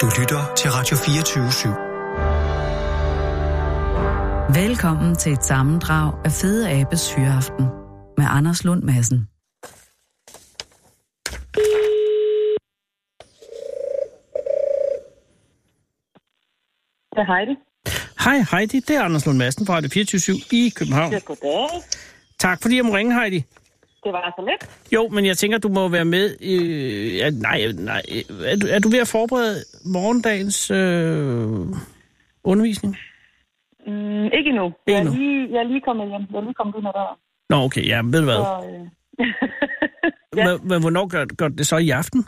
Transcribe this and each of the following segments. Du lytter til Radio 24 /7. Velkommen til et sammendrag af Fede Abes Hyreaften med Anders Lund Madsen. Det er Heidi. Hej Heidi, det er Anders Lund Madsen fra Radio 24 i København. Ja, goddag. Tak fordi jeg må ringe, Heidi. Det var altså så lidt. Jo, men jeg tænker, du må være med. Øh, ja, nej, nej. Er du, er du ved at forberede morgendagens øh, undervisning? Mm, ikke endnu. Ikke jeg, er endnu. lige, jeg er lige kommet hjem. Jeg er lige kommet ind ad døren. Nå, okay, ja, ved du hvad? Så, øh, ja. Men, men hvornår gør, gør du det så i aften?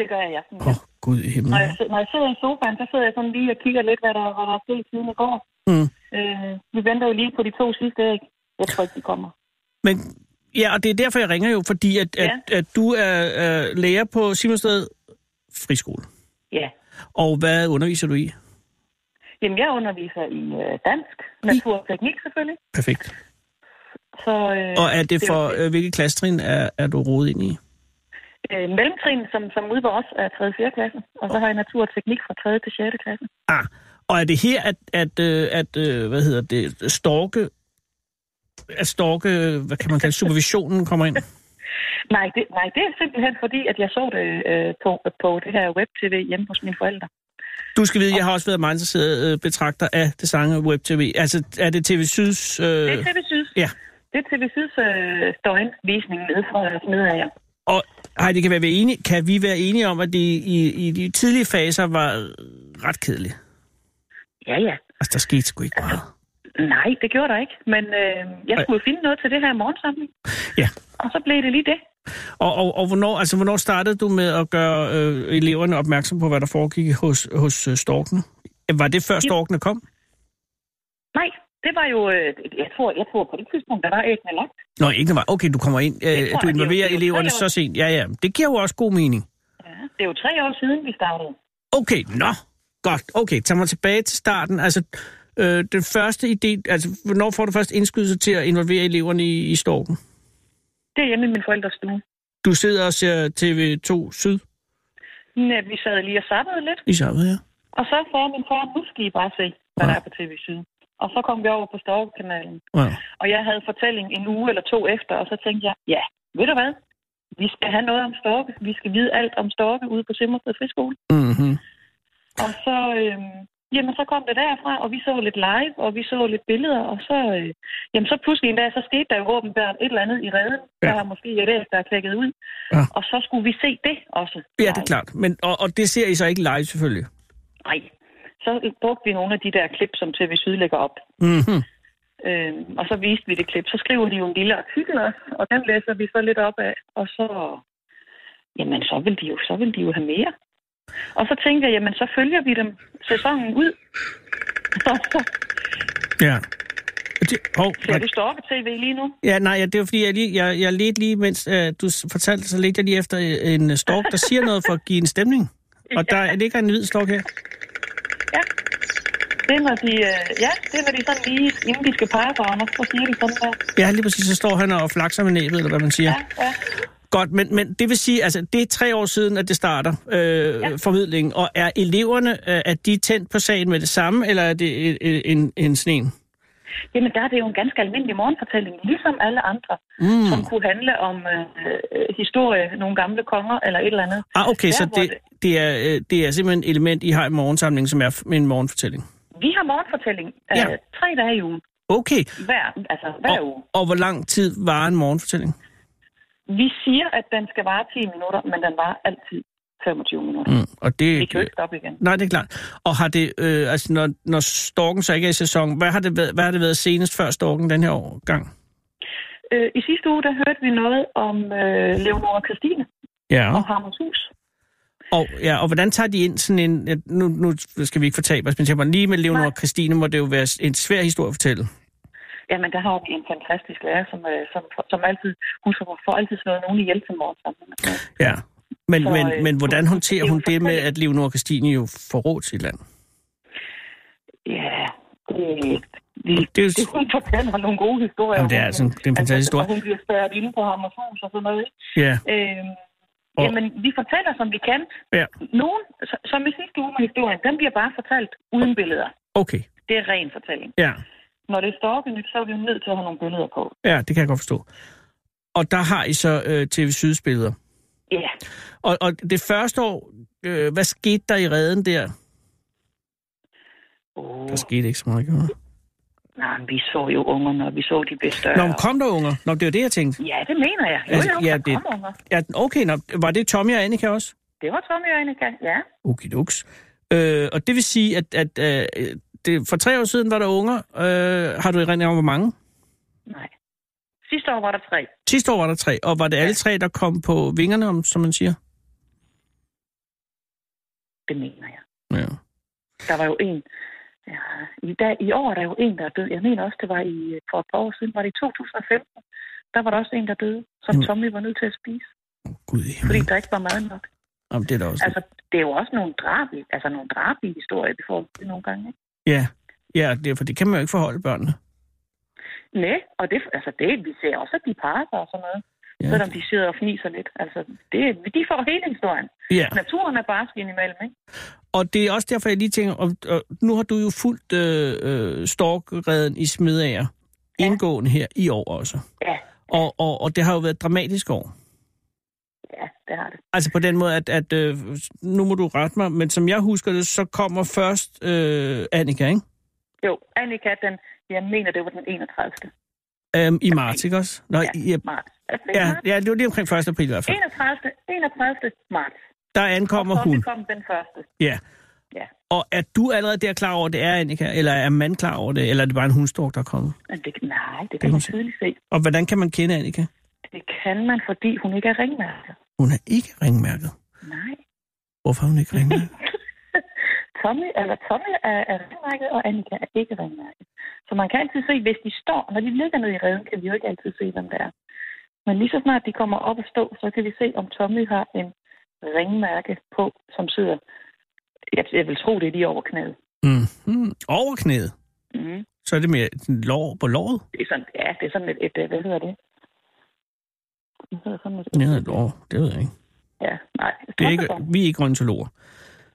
det gør jeg i aften. Åh, oh, Gud i himlen. Når, jeg, sid- når jeg sidder i sofaen, så sidder jeg sådan lige og kigger lidt, hvad der, hvad der er sket siden i går. Mm. Øh, vi venter jo lige på de to sidste æg. Jeg tror ikke, de kommer. Men, ja, og det er derfor, jeg ringer jo, fordi at, at, at du er, er lærer på Simonsted Friskole. Ja. Og hvad underviser du i? Jamen, jeg underviser i øh, dansk, natur og teknik selvfølgelig. Perfekt. Så, øh, Og er det for, jo- øh, hvilke klassetrin er, er du rodet ind i? Øh, mellemtrin, som, som ude på os, er 3. og 4. klasse. Og så har jeg natur og teknik fra 3. til 6. klasse. Ah, og er det her, at, at, øh, at øh, hvad hedder det, storke, at storke, øh, hvad kan man kalde, supervisionen kommer ind? Nej det, nej, det er simpelthen fordi, at jeg så det øh, på, på det her web-tv hjemme hos mine forældre. Du skal vide, jeg har også været meget interesseret øh, betragter af det sange Web TV. Altså, er det TV Syds... Det Øh, er TV Syds. ja. Det er TV Syds øh, døgnvisning nede fra nede af jer. Og hej, det kan, være, vi er enige, kan vi være enige om, at det i, i de tidlige faser var ret kedeligt? Ja, ja. Altså, der skete sgu ikke meget. Nej, det gjorde der ikke. Men øh, jeg skulle jo finde noget til det her morgensamling. Ja. Og så blev det lige det. Og, og, og hvornår, altså, hvornår startede du med at gøre øh, eleverne opmærksom på, hvad der foregik hos, hos øh, storkene? Var det før storkene kom? Nej, det var jo... Øh, jeg, tror, jeg tror, på det tidspunkt, der var æggene lagt. Nå, ikke var. Okay, du kommer ind. tror Øh, jeg, du det er jo- det involverer er jo eleverne tre år. så sent. Ja, ja. Det giver jo også god mening. Ja. Det er jo tre år siden, vi startede. Okay, nå. Godt. Okay, tag mig tilbage til starten. Altså, øh, den første idé... Altså, hvornår får du først indskydelse til at involvere eleverne i, i storken? Det er hjemme i min forældres stue. Du sidder og ser TV2 Syd Ja, øh, vi sad lige og sappede lidt. i Sjøvet, ja. Og så sagde min far, nu skal I bare se, hvad der er på TV Syd. Og så kom vi over på Storkekanalen. Wow. Og jeg havde fortælling en uge eller to efter, og så tænkte jeg, ja, ved du hvad? Vi skal have noget om storke. Vi skal vide alt om storke ude på Simmersted Friskole. Mm-hmm. Og så, øh, jamen, så kom det derfra, og vi så lidt live, og vi så lidt billeder, og så, øh, jamen, så pludselig en dag, så skete der jo åbenbart et eller andet i redden. Ja. Der var måske et æg, der er klækket ud. Ja. Og så skulle vi se det også. Ja, det er klart. Men, og, og det ser I så ikke live, selvfølgelig. Nej. Så brugte vi nogle af de der klip, som TV Syd lægger op. Mm-hmm. Øh, og så viste vi det klip. Så skriver de jo en lille artikel også, og den læser vi så lidt op af. Og så, jamen, så vil de jo, så vil de jo have mere. Og så tænker jeg, jamen, så følger vi dem sæsonen ud. Og så Ja. Det, oh, ser du stå på tv lige nu. Ja, nej, ja, det var fordi, jeg, lige, jeg, jeg ledte lige, mens øh, du s- fortalte, så ledte jeg lige efter øh, en øh, stork, der siger noget for at give en stemning. Og der ligger en hvid stork her. Ja. Det er, når de, øh, ja, det er, når de sådan lige, inden de skal pege på Anders, så siger de sådan der. Ja, lige præcis, så står han og flakser med næbet, eller hvad man siger. Ja, Ja. ja. Godt, men, men det vil sige, altså det er tre år siden, at det starter, øh, ja. formidlingen. Og er eleverne, øh, er de tændt på sagen med det samme, eller er det øh, øh, en, en sneen? Jamen, der er det jo en ganske almindelig morgenfortælling, ligesom alle andre, mm. som kunne handle om øh, øh, historie, nogle gamle konger eller et eller andet. Ah, okay, Der, så hvor det, det, er, øh, det er simpelthen et element, I har i morgensamlingen, som er f- en morgenfortælling. Vi har morgenfortælling øh, Ja. ja. tre dage i ugen. Okay, Hver, altså hver uge. og, og hvor lang tid var en morgenfortælling? Vi siger, at den skal vare 10 minutter, men den var altid 25 minutter. Mm. Mm, og det, Vi kan jo ikke stoppe igen. Nej, det er klart. Og har det, øh, altså når, når storken så ikke er i sæson, hvad har, det været, hvad har det været senest før storken den her år gang? Øh, I sidste uge, der hørte vi noget om øh, Leonora Christine Ja. og Hammershus. Og, ja, og hvordan tager de ind sådan en, at nu, nu skal vi ikke fortabe os, men jeg må lige med Leonor Nej. og Christine må det jo være en svær historie at fortælle. Jamen, der har vi en fantastisk lærer, som, øh, som, som altid, hun får- får altid slået nogen ihjel til morgensamling. Ja. Men, Så, men, øh, men hvordan hun- håndterer det er hun jo det med, forfærdeligt. at Leonor og Christine jo får råd til et land? Ja, det, det, Det er jo- det, det, hun fortæller nogle gode historier. Jamen, det er altså en- det er en fantastisk altså, historie. og Hun bliver spærret inde på Hammershus og sådan noget, ikke? Ja, Øh, Og- Jamen, vi fortæller, som vi kan. Ja. Nogen, så- som i sidste uge med historien, den bliver bare fortalt uden billeder. Okay, Det er ren fortælling. ja. Når det er stalking, så er vi jo nødt til at have nogle billeder på. Ja, det kan jeg godt forstå. Og der har I så øh, TV Syds billeder. Ja. Og, og det første år, øh, hvad skete der i redden der? Oh, Der skete ikke så meget. gjorde der? nej, men vi så jo ungerne, og vi så de bedste. Nå, men og- kom der, unger. Nå, det var det, jeg tænkte. Ja, det mener jeg. Jo, Altså, jo, ja, ja, det- det... kom unger. Ja, okay, nå, var det Tommy og Annika også? Det var Tommy og Annika, ja. Okay, duks. Øh, og det vil sige, at, at øh, det, for tre år siden var der unger. Øh, har du erindring om, hvor mange? Nej. Sidste år var der tre. Sidste år var der tre, og var det alle tre, der kom på vingerne, om, som man siger? Det mener jeg. Ja. Der var jo en... Ja, i, dag, I år er der jo en, der er død. Jeg mener også, det var i, øh, for et par år siden. Var det i 2015? Der var der også en, der døde, som Jamen. Tommy var nødt til at spise, Gud i fordi himlen. der ikke var mad nok. Jamen, det er da også... Altså, det er jo også nogle drabige, altså nogle drabige historier, vi får nogle gange. Ikke? Ja, ja det, er- for det kan man jo ikke forholde børnene. Nej, og det, altså det, vi ser også, at de parer sig og sådan noget. Ja. Selvom de sidder og fniser lidt. Altså, det, de får hele historien. Ja. Naturen er bare skin imellem, ikke? Og det er også derfor, jeg lige tænker, og, og nu har du jo fulgt øh, øh, storkreden i Smedager ja. indgående her i år også. Ja, Og, og, og det har jo været et dramatisk år. ja, det har det. Altså på den måde, at, at øh, nu må du rette mig, men som jeg husker det, så kommer først øh, Annika, ikke? Jo, Annika, den, jeg mener, det var den 31. Øhm, I marts, ikke også? Nå, ja. I, marts. Er det ja, marts? ja, det var lige omkring 1. april i hvert fald. 31. 31. marts. Der ankommer Og så hun. kom den første. Ja. Ja. Og er du allerede der klar over, at det er Annika? Eller er man klar over det? Eller er det bare en hundstork, der er kommet? Men det, nej, det Det kan må man se. tydeligt se. Og hvordan kan man kende Annika? Det kan man, fordi hun ikke er ringmærket. Hun er ikke ringmærket. Nej. Hvorfor er hun ikke ringmærket? Tommy, eller Tommy er, er ringmærket, og Annika er ikke ringmærket. Så man kan altid se, hvis de står, når de ligger nede i redden, kan vi jo ikke altid se, hvem det er. Men lige så snart de kommer op og stå, så kan vi se, om Tommy har en ringmærke på, som sidder, jeg, jeg vil tro, det er lige over knæet. Mm. Over knæet. Mm. Så er det mere sådan lår på låret. Det er sådan, ja, det er sådan et, et øh, hvad hedder det? Hvad hedder sådan et, Nede af et lår, det ved jeg ikke. Ja, nej, Det er ikke, strømpebånd. vi er ikke røntologer.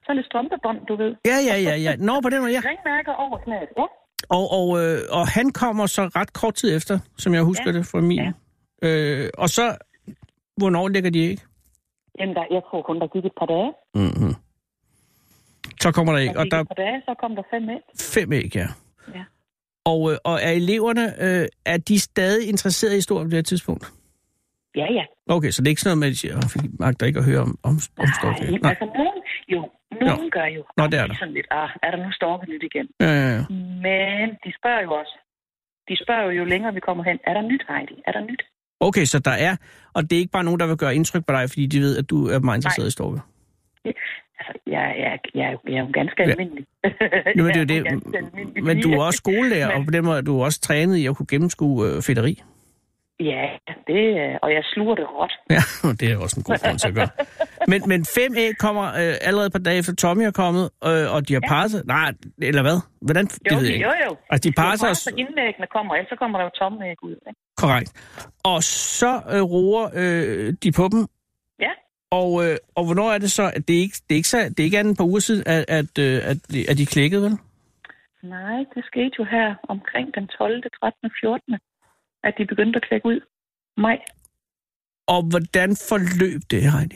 Sådan et strømpebånd, du ved. Ja, ja, ja, ja. Nå, på den måde, ja. Ringmærker over knæet, ja. Og, og, øh, og han kommer så ret kort tid efter, som jeg husker ja. Ja. det fra min. Ja. Ja. Øh, og så, hvornår ligger de ikke? Jamen, der, jeg tror kun, der gik et par dage. Mm-hmm. Så kommer der Der ikke, og gik der er et par dage, så kom der fem med. fem æg, ja. Ja. Og, øh, og er eleverne, øh, er de stadig interesseret i historien på det her tidspunkt? Ja, ja. Okay, så det er ikke sådan noget med, at de siger, "Åh, vi magter ikke at høre om, om, om Nej, storken." Nej. altså nogen, jo, nogen gør jo. Nå, det er der. Sådan lidt, ah, er der nu storket nyt igen? Ja, ja, ja. Men de spørger jo også. De spørger jo, jo længere vi kommer hen, er der nyt, Heidi? Er der nyt? Okay, så der er, og det er ikke bare nogen, der vil gøre indtryk på dig, fordi de ved, at du er meget interesseret Nej. i storke. Altså, jeg, jeg, jeg, er jo- jeg er jo ganske Ja. almindelig. Nu, men det Jeg er jo ganske det, almindelig men du pige. er også skolelærer, og på den måde er du også trænet i at kunne gennemskue øh, fedteri. Ja, det, øh, og jeg sluger det råt. Ja, det er også en god grund til at gøre. Men, men fem æg kommer øh, allerede et par dage efter Tommy er kommet, øh, og de har parret sig. Nej, eller hvad? Hvordan? det Jo, ved jeg jo, ikke. jo. Altså, de parrer sig jo, også- så indlæggene kommer, ellers så kommer der jo tomme æg ud. Ikke? Korrekt. Og så øh, roer øh, de på dem. Ja. Og, øh, og hvornår er det så, at det er ikke det er ikke, så, det er ikke andet end et par uger siden, at, at, øh, at, de- at de klækkede, vel? Nej, det skete jo her omkring den 12., 13., 14., at de begyndte at klække ud. Maj. Og hvordan forløb det, Heidi?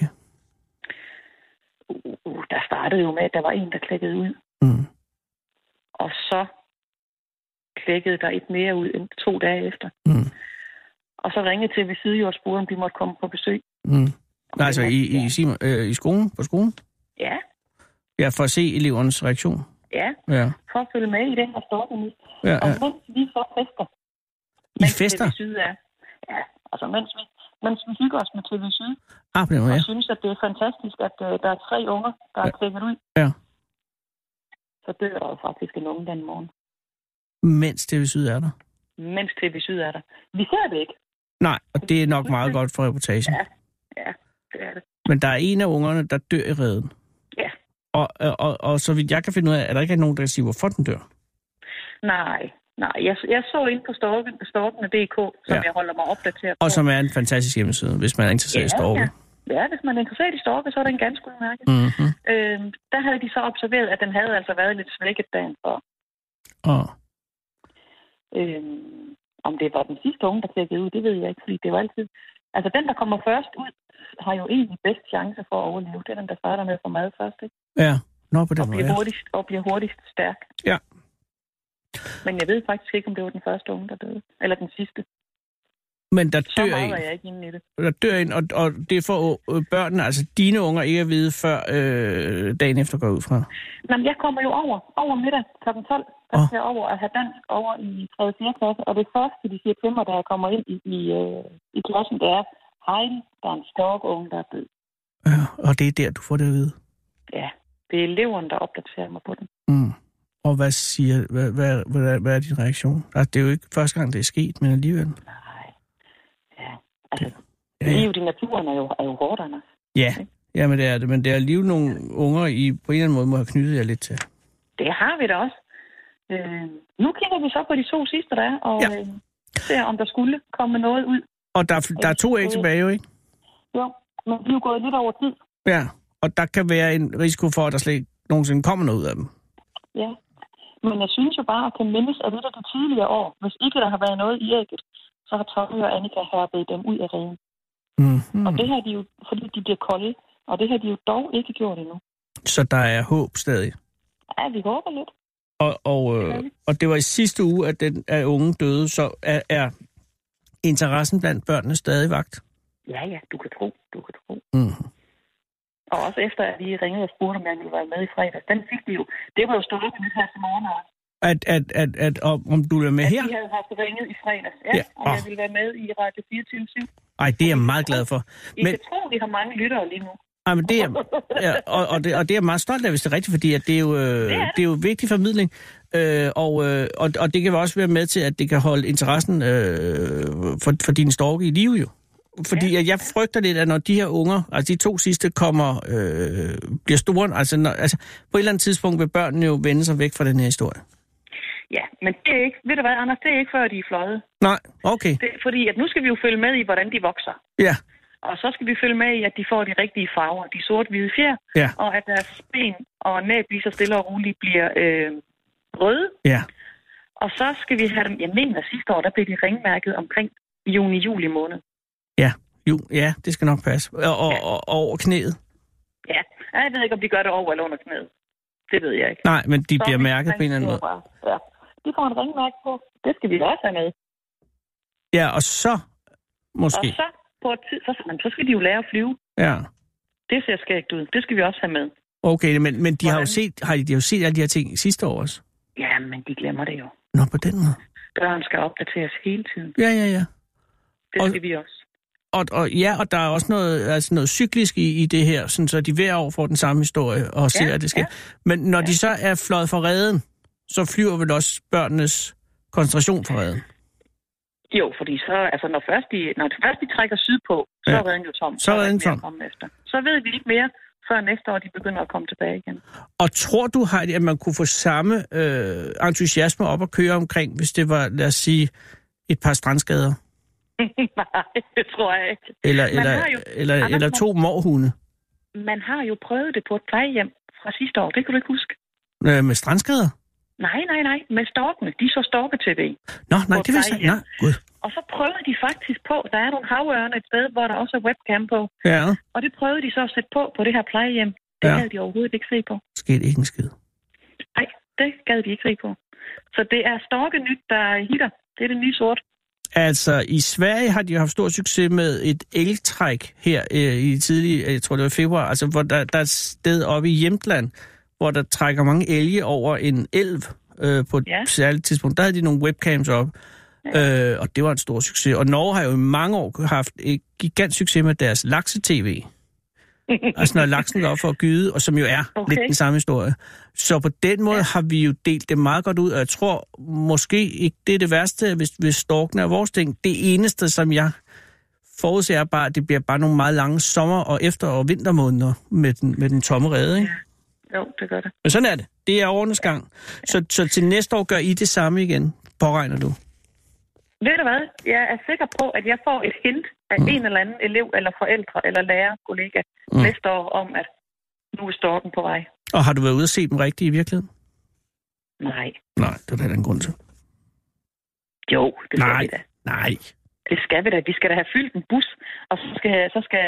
Uh, uh, der startede jo med, at der var en, der klækkede ud. Mm. Og så klækkede der et mere ud end to dage efter. Mm. Og så ringede til ved side og spurgte, om de måtte komme på besøg. Mm. Og Nej, altså det- i, i, Simon, øh, i skolen, på skolen? Ja, Ja, for at se elevernes reaktion. ja. Ja, For at følge med i den her storken nu. ja, Og ja. mens vi så fester. I mens fester? TV Syd er. Ja, altså mens vi, mens vi hygger os med TV Syd, Ah, på den måde, og ja. synes, at det er fantastisk, at uh, der er tre unger, der er klækket ud. Ja. Så dør der jo faktisk en unge den morgen. Mens TV Syd er der. Mens TV Syd er der. Vi ser det ikke. Nej, og det er nok meget godt for reportagen. Ja. Ja, det er det. Men der er en af ungerne, der dør i redden. Ja. Og, og, og, og så vidt jeg kan finde ud af, er der ikke nogen, der kan sige, hvorfor den dør. Nej, nej. Jeg, jeg så ind på storken, storken af DK, som Ja. ja. jeg holder mig opdateret Og på. som er en fantastisk hjemmeside, hvis man er interesseret i Ja, storke. ja. ja, hvis man er interesseret i storke, så er den ganske udmærket. Mm-hmm. Øh, der havde de så observeret, at den havde altså været lidt svækket dagen før. Og, Øh, om det var den sidste unge, der klækkede ud, det ved jeg ikke, fordi det var altid... Altså, den, der kommer først ud, har jo egentlig bedst chance for at overleve. Det er den, der starter med at få mad først, ikke? ja, nå på den Og måde. bliver, ja. hurtigst, og bliver hurtigst stærk. Ja. Men jeg ved faktisk ikke, om det var den første unge, der døde. Eller den sidste. Men der Så dør meget er en, jeg ikke inde i det. der dør en og, og det får øh, børnene, altså dine unger, ikke at vide før øh, dagen efter går jeg ud fra. Nå, men jeg kommer jo over, over middag kl. 12. Der Åh. skal jeg over og have dansk over i 3. og 4. klasse. Og det første, de siger til mig, da jeg kommer ind i, i, øh, i klassen, det er, hej, der er en storkunge, der er død. Ja, og det er der, du får det at vide. Ja, det er eleverne, der opdaterer mig på den. Mm. Og hvad siger, hvad, hvad, hvad, hvad er din reaktion? Altså, det er jo ikke første gang, det er sket, men alligevel. Nej. Ja, altså, Ja, ja. livet i naturen er jo, er jo hårdt, Anders. Ja, jamen det er det, men det er alligevel nogle unger, I på en eller anden måde må have knyttet jer lidt til. Det har vi da også. Øh, nu kigger vi så på de to sidste, der er, og Ja. ja. øh, ser, om der skulle komme noget ud. Og der, er- der er to æg tilbage, jo ikke? Jo, men vi er jo gået lidt over tid. Ja, og der kan være en risiko for, at der slet ikke nogensinde kommer noget ud af dem. Ja. Men jeg synes jo bare, at kan mindes, at det er de tidligere år. Hvis ikke der har været noget i ægget, så har Tommy og Annika herbedt dem ud af reden. Mm. Og Mm-hmm. det har de jo, fordi de bliver kolde. Og det har de jo dog ikke gjort endnu. Så der er håb stadig. Ja, vi håber lidt. Og, og, Det er øh, det. og det var i sidste uge, at den at unge døde, så er, er interessen blandt børnene stadig vagt. Ja, ja, du kan tro, du kan tro. Mm. Og også efter, at vi ringede og spurgte, om jeg ville være med i fredags. Den fik de jo. Det var jo stået op her til morgen, og At, at, at, at, om om du er med at her? de havde haft ringet i fredags. Ja, Ja, ja. og jeg åh. ville være med i Radio 24 7 Ej, det er jeg meget glad for. I Men- men... kan tro, vi har mange lyttere lige nu. Ej, men det er, ja, og, og, det, og det er jeg meget stolt af, hvis det er rigtigt, fordi at det, er jo, øh, det, er er det. det er jo vigtig formidling, øh, og, øh, og, og det kan jo også være med til, at det kan holde interessen øh, for, for din storke i live jo. Fordi ja. at jeg frygter lidt, at når de her unger, altså de to sidste, kommer, øh, bliver store, altså, når, altså på et eller andet tidspunkt vil børnene jo vende sig væk fra den her historie. Ja, men det er ikke, ved du hvad, Anders, det er ikke før, de er fløjet. Nej, okay, Det, fordi at nu skal vi jo følge med i, hvordan de vokser. ja, Og så skal vi følge med i, at de får de rigtige farver, de sort-hvide fjer, ja, og at deres ben og næb lige så stille og roligt bliver øh, røde. ja, Og så skal vi have dem, jeg mener sidste år, der blev de ringmærket omkring juni-juli måned. ja, jo, ja, det skal nok passe. Og, og, og, og over knæet. Ja, Ja, jeg ved ikke, om de gør det over eller under knæet. Det ved jeg ikke. Nej, men de Så bliver vi mærket på en eller anden måde. ringmærker bare. Ja, de får en ringmærke på. Det skal vi også have med. Ja, og så Og måske. så på et tid, så, jamen, så skal de jo lære at flyve. Ja. Det ser skægt ud. Det skal vi også have med. Okay, men, men de har jo Hvordan? set, har de, de har jo set alle de her ting sidste år også. Ja, men de glemmer det jo. Nå, på den måde. Børn skal opdateres hele tiden. Ja, ja, ja. Det Og- skal vi også. Og, og, ja, og der er også noget, altså noget cyklisk i, i det her, sådan så de hver år får den samme historie og ser, at det sker. ja. Men når de så er fløjet fra reden, så flyver vel også børnenes koncentration fra reden. Jo, fordi så, altså, når først de, når først de trækker sydpå, så Ja. er redden jo tom. Så er der reden ikke mere tom. at komme efter. Så ved vi ikke mere, før næste år de begynder at komme tilbage igen. Og tror du, Heidi, at man kunne få samme øh, entusiasme op at køre omkring, hvis det var, lad os sige, et par strandskader? Nej, det tror jeg ikke. Eller, Man eller, har jo- eller, Anders, eller man- to morhunde Man har jo prøvet det på et plejehjem fra sidste år. Det kan du ikke huske. øh, med strandskader? Nej, nej, nej. Med storkene. De så storke-tv. Nå, nej, På det vil jeg plejehjem. Nej, gud. Og så prøvede de faktisk på, der er nogle havørne et sted, hvor der også er webcam på. Ja, Og det prøvede de så at sætte på på det her plejehjem. Det Ja. ja. gad de overhovedet ikke se på. skete ikke en skid. Nej, det gad de ikke se på. Så det er storke nyt, der hitter. Det er det nye sort. Altså, i Sverige har de jo haft stor succes med et eltræk her øh, i tidlig, jeg tror det var februar, altså hvor der, der er et sted oppe i Jämtland, hvor der trækker mange elge over en elv øh, på et ja. Ja. særligt tidspunkt. Der havde de nogle webcams op, ja. øh, og det var en stor succes. Og Norge har jo i mange år haft et gigant succes med deres lakse-tv. altså når laksen går op for at gyde, og som jo er okay. Okay. lidt den samme historie. Så på den måde ja. Ja. har vi jo delt det meget godt ud, og jeg tror måske ikke, det er det værste, hvis, hvis storken er vores ting. Det eneste, som jeg forudser er bare, at det bliver bare nogle meget lange sommer- og efter- og vintermåneder med den, med den tomme rede. Ikke? Jo, det gør det. Men sådan er det. Det er årenes gang. Så, så til næste år gør I det samme igen, påregner du. Ved du hvad? Jeg er sikker på, at jeg får et hint af af en eller anden elev eller forældre eller lærer, kollega, Mm. mm. næste år om, at nu er storken på vej. Og har du været ude at se dem rigtigt i virkeligheden? Nej. Nej, det er der da en grund til. Jo, det skal Nej. vi da. Nej. Det skal vi da. Vi skal da have fyldt en bus, og så skal, så skal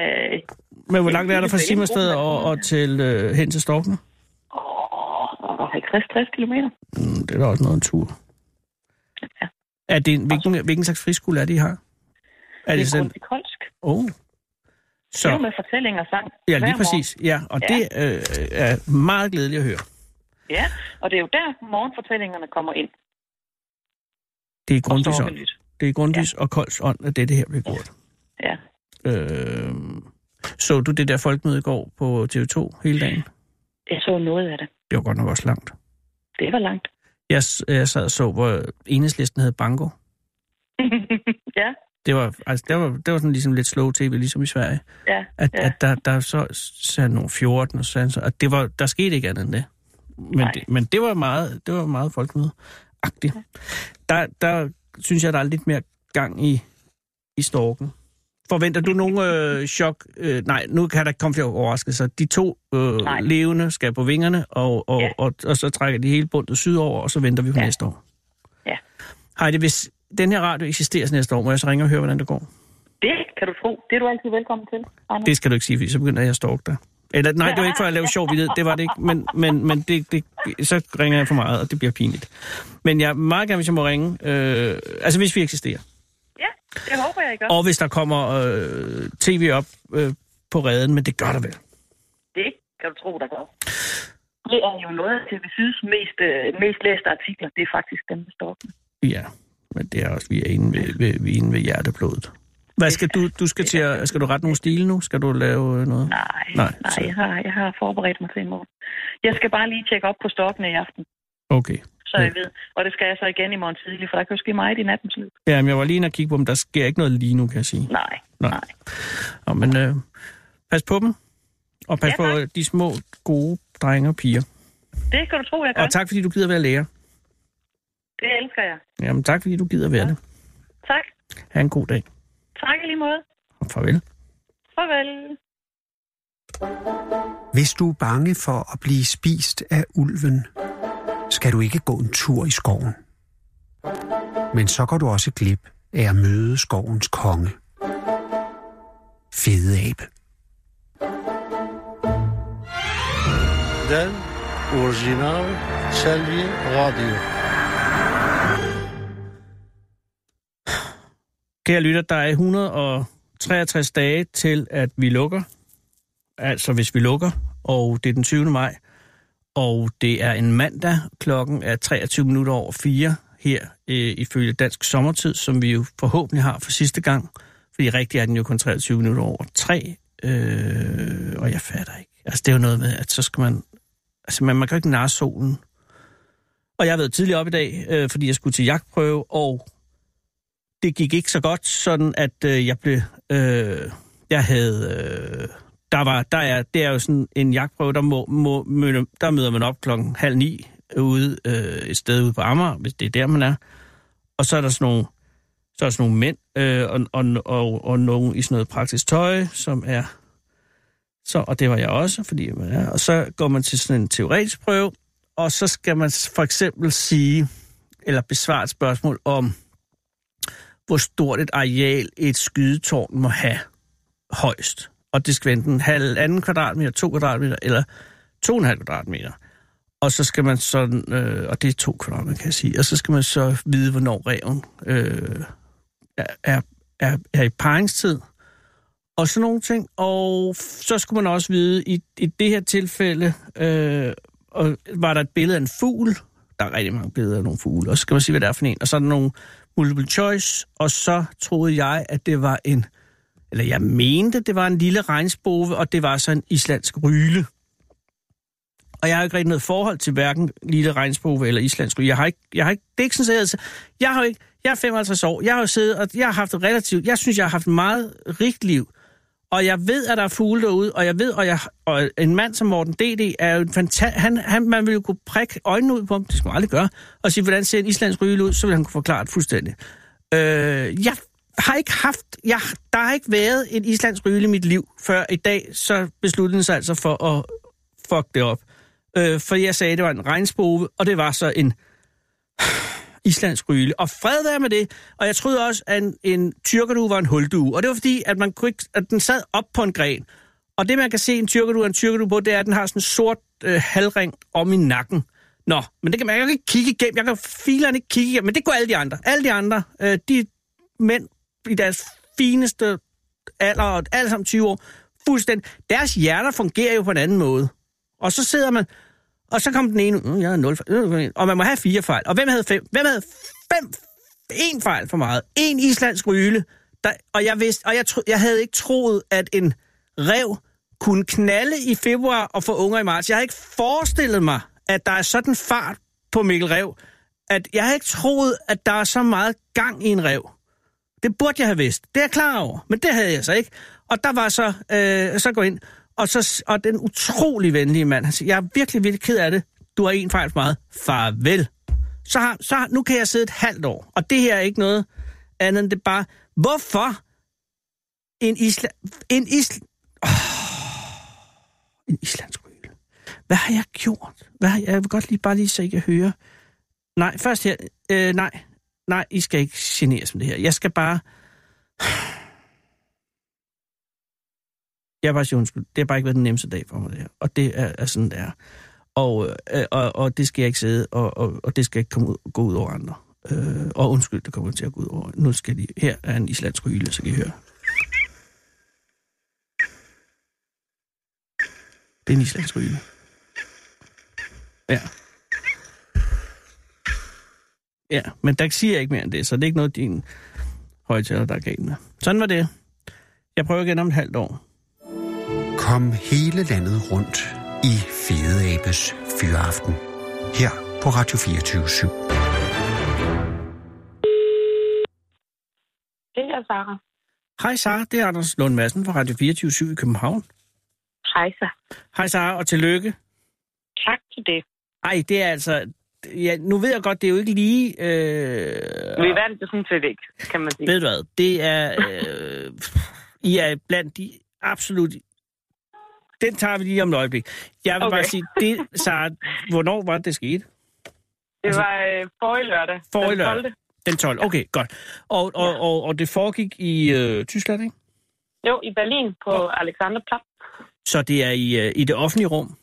Men hvor langt er der fra Det er en god Simmersted og, og til, øh, hen til Storkene? åh, 50-60 kilometer. Mm, det er da også noget af en tur. Ja. Er det en, hvilken, hvilken slags friskole er det, I har? Er Det det er sådan... Grundtvig Kolsk. Oh. Det er Så, med fortælling og sang. ja, hver lige morgen. præcis. Ja, og det øh, er meget glædeligt at høre. Ja, og det er jo der, morgenfortællingerne kommer ind. Det er Og Grundtvigs ånd. storkelyt. Det er Grundtvigs og Kolds ånd, at det, det her bliver gjort. Ja. Øh, så du det der folkemøde i går på TV2 hele dagen? Jeg så noget af det. Det var godt nok også langt. Det var langt. Jeg, s- jeg sad og så, hvor enhedslisten havde banko. ja, Det var, altså, det var, det var sådan ligesom lidt slow tv, ligesom i Sverige. ja. At, Ja. ja. at der, der så sagde nogle 14, og så, sagde han så at det var, der skete ikke andet end det. Men, Nej. det, men det var meget, det var meget folkemødeagtigt. Der, der synes jeg, der er lidt mere gang i, i storken. Forventer du nogle øh, chok? Øh, nej, nu kan der ikke komme flere overraskelser. De to øh, Nej. levende skal på vingerne, og, og, Ja. ja. og, og, og så trækker de hele bundet sydover, og så venter vi på ja. Ja. næste år. Ja. Heidi, hvis den her radio eksisterer næste år, må jeg så ringe og høre, hvordan det går? Det kan du tro. Det er du altid velkommen til, Anders. Det skal du ikke sige, fordi så begynder jeg at stalke dig. Eller, nej, det var ikke for at lave sjov vidtighed, det var det ikke. Men, men, men det, det, så ringer jeg for meget, og det bliver pinligt. Men jeg meget gerne, hvis jeg må ringe. Øh, altså, hvis vi eksisterer. Ja, det håber jeg, I gør. Og hvis der kommer øh, tv op øh, på redden, men det gør der vel. Det kan du tro, der gør. Det er jo noget af TV's mest, øh, mest læste artikler. Det er faktisk dem, der står. Ja, men det er også, vi er inde ved, ved, vi er inde ved hjerteblodet. Hvad skal du, du skal til at, skal du rette nogle stile nu? Skal du lave øh, noget? Nej, Nej, nej, så- nej jeg, har, jeg har forberedt mig til i morgen. Jeg skal bare lige tjekke op på stokkene i aften, Okay. så jeg ved. Og det skal jeg så igen i morgen tidlig, for der kan jo ske meget i nattens løb. Jamen, jeg var lige inde og kigge på dem. Der sker ikke noget lige nu, kan jeg sige. Nej, nej. Nej. nej. Nå, men øh, pas på dem, og pas Ja, ja, på tak. øh, de små, gode drenge og piger. Det kan du tro, jeg gør. Og tak, fordi du gider være lærer. Det elsker jeg. Jamen, tak, fordi du gider være ja. det. Tak. Ha' en god dag, Tak i lige måde. og farvel. Farvel. Hvis du er bange for at blive spist af ulven, skal du ikke gå en tur i skoven. Men så går du også glip af at møde skovens konge. Fede abe. Den original Selvi Radio. Kære lytter, der er 163 dage til, at vi lukker. Altså, hvis vi lukker, og det er den 20. maj, og det er en mandag, klokken er 23 minutter over 4 her øh, ifølge dansk sommertid, som vi jo forhåbentlig har for sidste gang, fordi rigtig er den jo kun 23 minutter over 3, øh, og jeg fatter ikke. Altså, det er jo noget med, at så skal man... Altså, man, man kan jo ikke narre solen. Og jeg har været tidligere op i dag, øh, fordi jeg skulle til jagtprøve, og det gik ikke så godt, sådan at øh, jeg blev... Øh, jeg havde... Øh, der var, der er, det er jo sådan en jagtprøve, der, må, må, møde, der møder man op klokken halv ni ude øh, et sted ude på Amager, hvis det er der, man er. Og så er der sådan nogle, så er der sådan nogle mænd øh, og, og, og, og nogen i sådan noget praktisk tøj, som er... Så, og det var jeg også, fordi man er. Og så går man til sådan en teoretisk prøve, og så skal man for eksempel sige, eller besvare et spørgsmål om, hvor stort et areal et skydetårn må have højst. Og det skal være enten halvanden kvadratmeter, to kvadratmeter eller to og en halv kvadratmeter. Og så skal man sådan, øh, og det er to kvadratmeter, kan jeg sige, og så skal man så vide, hvornår reven øh, er, er, er, er i paringstid, og sådan nogle ting. Og f- så skulle man også vide, i, i det her tilfælde, øh, og var der et billede af en fugl, der er rigtig mange billeder af nogle fugle, og så skal man sige, hvad det er for en, og så er der nogle multiple choice, og så troede jeg, at det var en, eller jeg mente, det var en lille regnsbove, og det var så en islandsk ryle. Og jeg har ikke rigtig noget forhold til hverken lille regnsbove eller islandsk ryle. Jeg har ikke, jeg har ikke, det er ikke sådan, at jeg, jeg har jo ikke, jeg er 55 år, jeg har jo siddet, og jeg har haft et relativt, jeg synes, jeg har haft et meget rigt liv. Og jeg ved, at der er fugle derude, og jeg ved, og, jeg, og en mand som Morten D.D. er jo en fantastisk... Han, han, man ville jo kunne prikke øjnene ud på ham, det skal man aldrig gøre, og sige, hvordan ser en islandsk ryle ud, så vil han kunne forklare det fuldstændig. Øh, jeg har ikke haft, jeg, der har ikke været en islandsk ryle i mit liv, før i dag, så besluttede den sig altså for at fuck det op. Øh, for jeg sagde, at det var en regnsbove, og det var så en islandsk ryle. Og fred være med det. Og jeg troede også, at en, en tyrkerdue var en huldue. Og det var fordi, at, man kunne ikke, at den sad op på en gren. Og det, man kan se en tyrkerdue og en tyrkerdue på, det er, at den har sådan en sort øh, halvring om i nakken. Nå, men det kan man jeg kan jo ikke kigge igennem. Jeg kan filerne ikke kigge igennem, men det går alle de andre. Alle de andre, øh, de mænd i deres fineste alder, og alle sammen 20 år, fuldstændig. Deres hjerner fungerer jo på en anden måde. Og så sidder man, og så kom den ene, ud, "Mm, jeg havde 0 fejl, og man må have fire fejl. Og hvem havde fem? Hvem havde fem? En fejl for meget. En islandsk ryle. Der, og jeg vidste, og jeg, tro, jeg havde ikke troet, at en rev kunne knalde i februar og få unger i marts. Jeg havde ikke forestillet mig, at der er sådan fart på Mikkel Rev, at jeg havde ikke troet, at der er så meget gang i en rev. Det burde jeg have vidst. Det er jeg klar over. Men det havde jeg så ikke. Og der var så, øh, så gå ind, og, så, og den utrolig venlige mand, han siger, jeg er virkelig, virkelig ked af det. Du har en fejl for meget. Farvel. Så, har, så har, nu kan jeg sidde et halvt år. Og det her er ikke noget andet end det er bare, hvorfor en isla, en isla, oh, en islandsk ryle. Hvad har jeg gjort? Hvad har jeg, jeg vil godt lige, bare lige så I kan høre. Nej, først her. Øh, nej, nej, I skal ikke generes med det her. Jeg skal bare... Jeg er bare sige undskyld. Det har bare ikke været den nemmeste dag for mig, det her. Og det er, er sådan, det er. Og, øh, og, og det skal jeg ikke sidde, og, og, og det skal ikke komme ud, gå ud over andre. Øh, og undskyld, det kommer til at gå ud over. Nu skal de... Her er en islandsk ryle, så kan I høre. Det er en islandsk ryle. Ja. Ja, men der siger jeg ikke mere end det, så det er ikke noget, din højtaler, der er galt med. Sådan var det. Jeg prøver igen om et halvt år. Kom hele landet rundt i Fede Abes Fyraften. Her på Radio 24 7. Det er Sara. Hej Sara, det er Anders Lund Madsen fra Radio 24 i København. Hej så. Hej Sara, og tillykke. Tak til det. Ej, det er altså... Ja, nu ved jeg godt, det er jo ikke lige... Øh, Vi vandt det sådan set ikke, kan man sige. ved du hvad? Det er... Øh, I er blandt de absolut... Den tager vi lige om et øjeblik. Jeg vil okay. bare Okay. sige, det, Sara, hvornår var det, det skete? Det var øh, forrige lørdag. Forrige den lørdag. 12.. Den 12. Okay, godt. Og, og, Ja. og, og det foregik i øh, Tyskland, ikke? Jo, i Berlin på Alexanderplatz. Så det er i, øh, i det offentlige rum.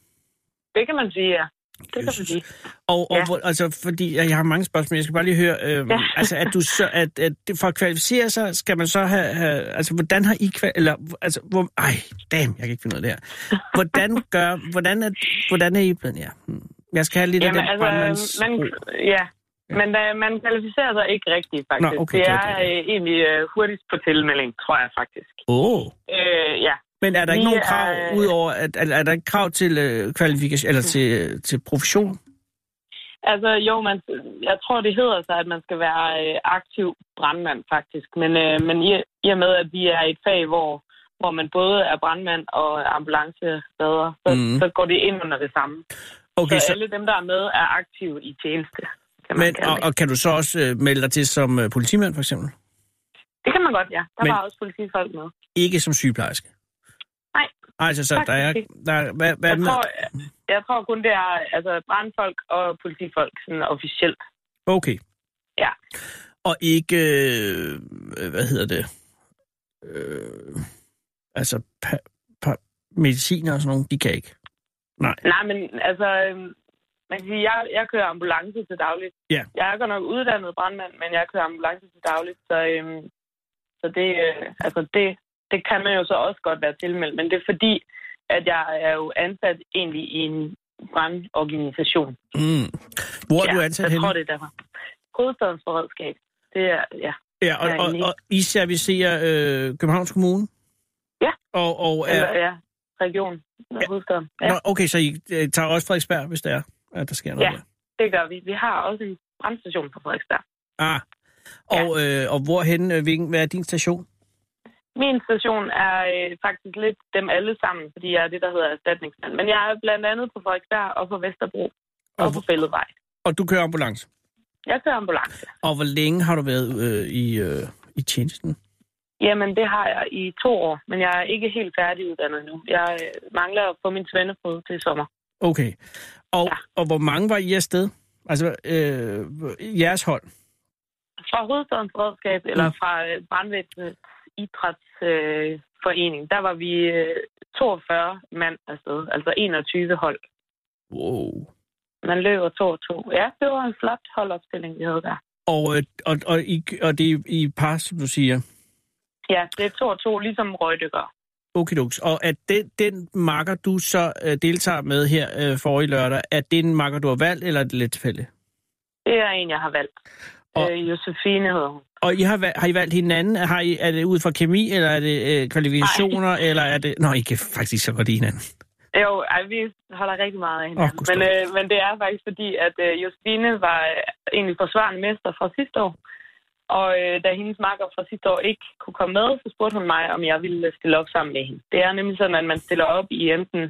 Det kan man sige, ja. Det kan man Jesus. sige. Og, og Ja. hvor, altså, fordi jeg jeg har mange spørgsmål, jeg skal bare lige høre, øh, ja. Ja. altså, at du så, at, at det- for at kvalificere sig, skal man så have, have altså, hvordan har I, kval, eller, altså, hvor, ej, damn, jeg kan ikke finde ud af det her. Hvordan gør, hvordan er, hvordan er I blevet, ja. hmm. Jeg skal have lidt Jamen, af den brandmands... altså, man, ja. Men øh, man kvalificerer sig ikke rigtigt, faktisk. Nå, okay, det det var er det. øh, egentlig øh, hurtigst på tilmelding, tror jeg faktisk. Åh, oh. Øh, ja. men er der ikke Vi nogen er- krav, udover, at, er, er der ikke krav til øh, kvalifikation, eller til, til profession? Altså jo, man, jeg tror, det hedder sig, at man skal være øh, aktiv brandmand faktisk. Men, øh, men i, i og med, at vi er et fag, hvor, hvor man både er brandmand og ambulanceredder, så, Mhm. mm. så går det ind under det samme. Okay, så, så, alle dem, der er med, er aktive i tjeneste. Kan man men, kalde og, det. og kan du så også øh, melde dig til som øh, politimand, for eksempel? det kan man godt, ja. Men- Der men, var også politifolk med. Ikke som sygeplejerske? Nej, Altså, så der er, faktisk der er, hvad, hvad Jeg med? tror, jeg, jeg tror kun, det er altså, brandfolk og politifolk sådan officielt. Okay. Ja. Og ikke, øh, hvad hedder det, øh, altså pa- pa- mediciner og sådan nogle, de kan ikke. Nej, men altså, øhm, man kan sige, jeg, jeg kører ambulance til dagligt. Ja. Jeg er godt nok uddannet brandmand, men jeg kører ambulance til dagligt, så, øhm, så det, øh, altså det, det kan man jo så også godt være tilmeldt, men det er fordi, at jeg er jo ansat egentlig i en brandorganisation. Mm. Hvor er ja, du ansat Jeg henne? tror, det er derfor. Hovedstadens Beredskab. Det er, ja. Ja, og, jeg er og, inde i. og I servicerer øh, Københavns Kommune? Ja. Og, og Eller, er, ja. Region. Ja. Hovedstaden. Ja, nå, okay, så I øh, tager også Frederiksberg, hvis der er, at der sker noget Ja. der. det gør vi. Vi har også en brandstation på Frederiksberg. Ah. Og, øh, og hvorhen, øh, hvilken, hvad er din station? Min station er øh, faktisk lidt dem alle sammen, fordi jeg er det, der hedder erstatningsmand. Men jeg er blandt andet på Frederiksberg og på Vesterbro og, Og og på Fælledvej. Og du kører ambulance? Jeg kører ambulance. Og hvor længe har du været øh, i, øh, i tjenesten? Jamen, det har jeg i to år, men jeg er ikke helt færdiguddannet nu. Jeg øh, mangler at få min svendeprøve til sommer. Okay. Og, Ja. og hvor mange var I afsted? Altså, øh, jeres hold? Fra Hovedstadens Redskab, eller fra øh, Brandvæsenets Idrætsforening, øh, forening, der var vi øh, 42 mand afsted, altså 21 hold. Wow. Man løber to og to. Ja, det var en flot holdopstilling, vi havde der. Og, øh, og, og, I, og det er i i par, som du siger. Ja, det er to og to, ligesom Røgdykker. Okidoks. Og at den, den marker, du så øh, deltager med her øh, for i lørdag, er det en marker, du har valgt, eller er det lidt tilfældigt? Det er en, jeg har valgt. Og- Og... Øh, Josefine hedder hun. Og I har, valgt, har I valgt hinanden? Har I, er det ud fra kemi, eller er det øh, kvalifikationer, Ej. eller er det... Nå, I kan faktisk så godt lide hinanden. Jo, ej, vi holder rigtig meget af hinanden. Åh, gud, men, stop. øh, men det er faktisk fordi, at øh, Josefine var øh, egentlig forsvarende mester fra sidste år. Og øh, da hendes makker fra sidste år ikke kunne komme med, så spurgte hun mig, om jeg ville stille op sammen med hende. Det er nemlig sådan, at man stiller op i enten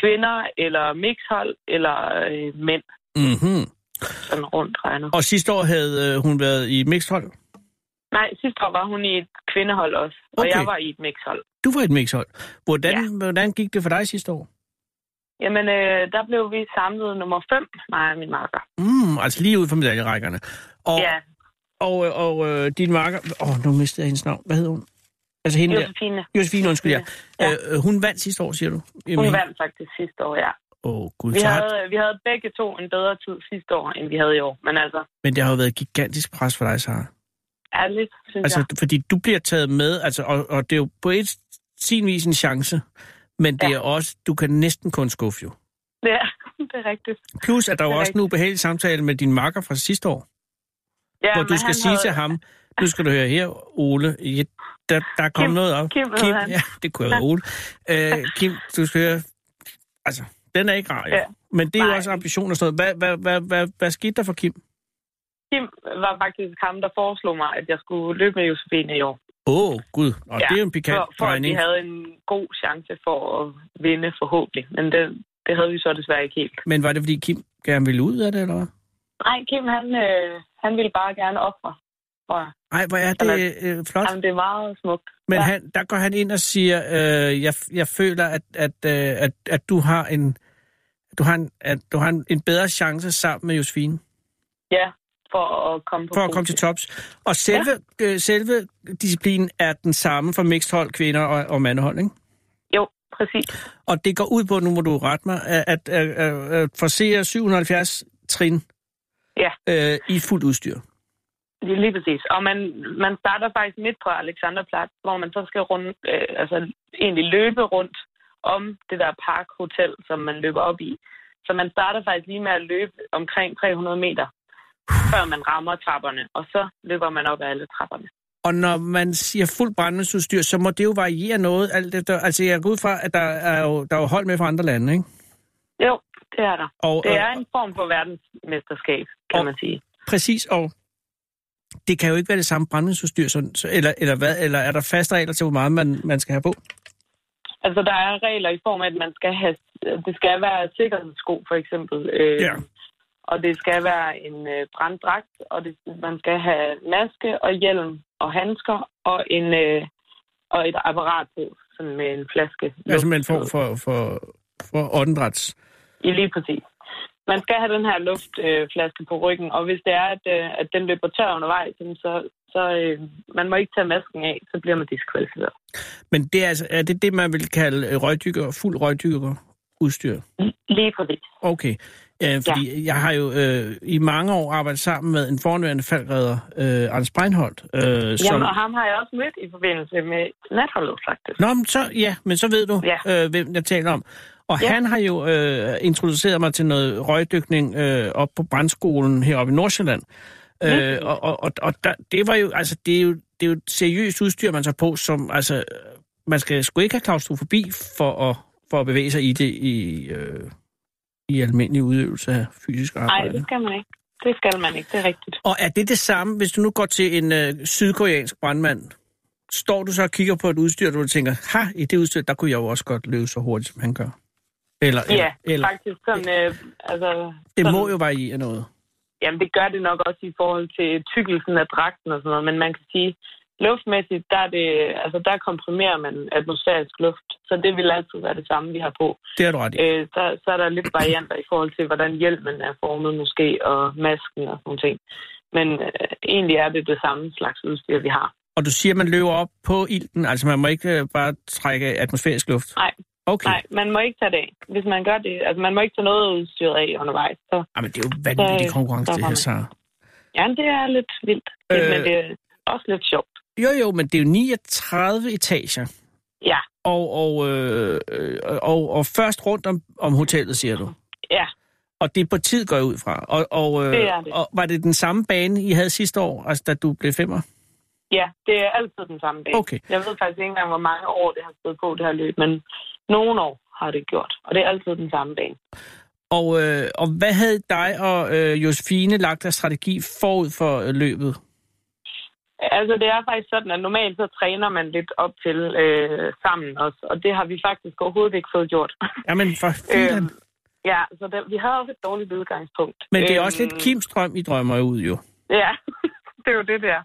kvinder eller mixhold eller øh, mænd, Mm-hmm. sådan rundt regnet. Og sidste år havde øh, hun været i mixhold. Nej, sidste år var hun i et kvindehold også, og Okay. jeg var i et mixhold. Du var i et mixhold. Hvordan, Ja. hvordan gik det for dig sidste år? Jamen, øh, der blev vi samlet nummer 5, mig og min makker. Mm, altså lige ud fra medaljerækkerne. Og, Ja, og, øh, og øh, din marker... Åh, oh, nu mistede jeg hendes navn. Hvad hed hun? Altså hende der. Josefine. Josefine, undskyld, ja. ja. Ja. Øh, hun vandt sidste år, siger du? Hun Jamen, vandt faktisk sidste år, ja. Åh, oh, gud, Vi så har, havde, øh, vi havde begge to en bedre tid sidste år, end vi havde i år. Men altså, men det har jo været gigantisk pres for dig, Sara. ærligt, synes Altså, jeg. ja. fordi du bliver taget med, altså, og, og det er jo på et, sin vis en chance, men det ja. Ja. er også, du kan næsten kun skuffe jo. Det er, det er rigtigt. Plus, at der jo Det er også en ubehagelig samtale med din makker fra sidste år, Ja, ja, hvor men du skal han sige havde... til ham, nu skal du høre her, Ole, jeg, der, der er kommet Kim- noget op. Kim hed han. ja, det kunne have været Ole. Øh, Kim, du skal høre, altså, den er ikke rar, jo. Ja. Ja. Men det er jo Nej. også ambition og sådan noget. Hvad, hvad, hvad, hvad, hvad skete der for Kim? Kim var faktisk ham, der foreslog mig, at jeg skulle løbe med Josefine i år. Åh, oh, gud. Og ja, Ja, det er jo en pikant for, for at vi drejning. havde en god chance for at vinde forhåbentlig. Men det, det havde vi så desværre ikke helt. Men var det, fordi Kim gerne ville ud af det, eller hvad? Nej, Kim, han, øh, han ville bare gerne ofre. tror jeg. Ej, hvor er det øh, flot. Jamen, det er meget smukt. Men ja. han, der går han ind og siger, øh, jeg, jeg føler, at, at, øh, at, at du har en du har, en, at du har en, en bedre chance sammen med Josefine Ja, for at komme på for at komme til podiet. tops. Og selve, ja. øh, selve disciplinen er den samme for mixed hold, kvinder og, og mandehold, ikke? Jo, præcis. Og det går ud på, nu må du rette mig, at, at, at, at, at forsere 770 trin Ja. øh, i fuldt udstyr. Ja, lige præcis. Og man, man starter faktisk midt på Alexanderplatz, hvor man så skal rundt, øh, altså egentlig løbe rundt om det der parkhotel, som man løber op i. Så man starter faktisk lige med at løbe omkring 300 meter, før man rammer trapperne, og så løber man op ad alle trapperne. Og når man siger fuld brændingsudstyr, så må det jo variere noget. Alt efter, altså jeg går ud fra, at der er, jo, der er jo hold med fra andre lande, ikke? Jo, det er der. Og, Det øh, er en form for verdensmesterskab, Og- kan man sige. Præcis, og det kan jo ikke være det samme brændingsudstyr, sådan, så, eller, eller, hvad, eller er der faste regler til, hvor meget man, man skal have på? Altså, der er regler i form af, at man skal have, det skal være sikkerhedssko, for eksempel. Øh, Ja. Og det skal være en øh, branddragt, og det, man skal have maske og hjelm og handsker og, en, øh, og et apparat på, sådan med en flaske. Altså man luft. får for, for, for åndedræts. I lige præcis. Man skal have den her luftflaske øh, flaske på ryggen, og hvis det er, at, øh, at den løber tør undervejs, jamen så, så øh, man må ikke tage masken af, så bliver man diskvalificeret. Men det er, altså, er det det, man vil kalde øh, røgdykker, fuld røgdykker udstyr? Lige præcis. Okay. Øh, fordi ja. jeg har jo øh, i mange år arbejdet sammen med en fornøjende faldredder, øh, Anders Breinholt. Øh, som, Jamen, og ham har jeg også mødt i forbindelse med natholdet, faktisk. Nå, men så, ja, men så ved du, ja. Ja. øh, hvem jeg taler om. Og ja. Ja. han har jo øh, introduceret mig til noget røgdykning øh, op på brandskolen heroppe i Nordsjælland. Øh, og og, og, og der, det var jo, altså, det er jo, det er jo et seriøst udstyr, man tager på, som, altså, øh, man skal sgu ikke have klaustrofobi for at, for at bevæge sig i det i, øh, i almindelig udøvelse af fysisk Nej, arbejde. det skal man ikke. Det skal man ikke, det er rigtigt. Og er det det samme, hvis du nu går til en øh, sydkoreansk brandmand? Står du så og kigger på et udstyr, og du tænker, ha, i det udstyr, der kunne jeg jo også godt løbe så hurtigt, som han gør? Eller, Ja, eller, eller. faktisk sådan, øh, altså... det sådan, må jo variere noget. Jamen, det gør det nok også i forhold til tykkelsen af dragten og sådan noget, men man kan sige, luftmæssigt, der, er det, altså, der komprimerer man atmosfærisk luft, så det vil altid være det samme, vi har på. Det har du ret i. Øh, så, så er der lidt varianter i forhold til, hvordan hjelmen er formet måske, og masken og sådan nogle ting. Men øh, egentlig er det det samme slags udstyr, vi har. Og du siger, man løber op på ilten, altså man må ikke øh, bare trække atmosfærisk luft? Nej. Okay. Nej, man må ikke tage det af. Hvis man gør det, altså man må ikke tage noget af udstyret af undervejs. Så Jamen, det er jo vanvittig Så- konkurrence, så det har her, man- så. ja, det er lidt vildt, øh... men Øh. det er også lidt sjovt. Jo, jo, men det er jo 39 etager. Ja, Og, og, øh, øh, og, og først rundt om, om hotellet, siger du. ja. Og det er på tid, går jeg ud fra. Og, og, øh, Det er det. og var det den samme bane, I havde sidste år, altså da du blev femmer? Ja, det er altid den samme dag. Okay. Jeg ved faktisk ikke engang, hvor mange år det har stået på det her løb, men nogle år har det gjort, og det er altid den samme dag. Og, øh, og hvad havde dig og øh, Josefine lagt af strategi forud for øh, løbet? Altså, det er faktisk sådan, at normalt så træner man lidt op til øh, sammen også, og det har vi faktisk overhovedet ikke fået gjort. Jamen, for filan. Øhm, ja, så det, vi havde også et dårligt udgangspunkt. Men det er Øhm, også lidt Kims drøm, I drømmer ud jo. Ja, det er jo det der.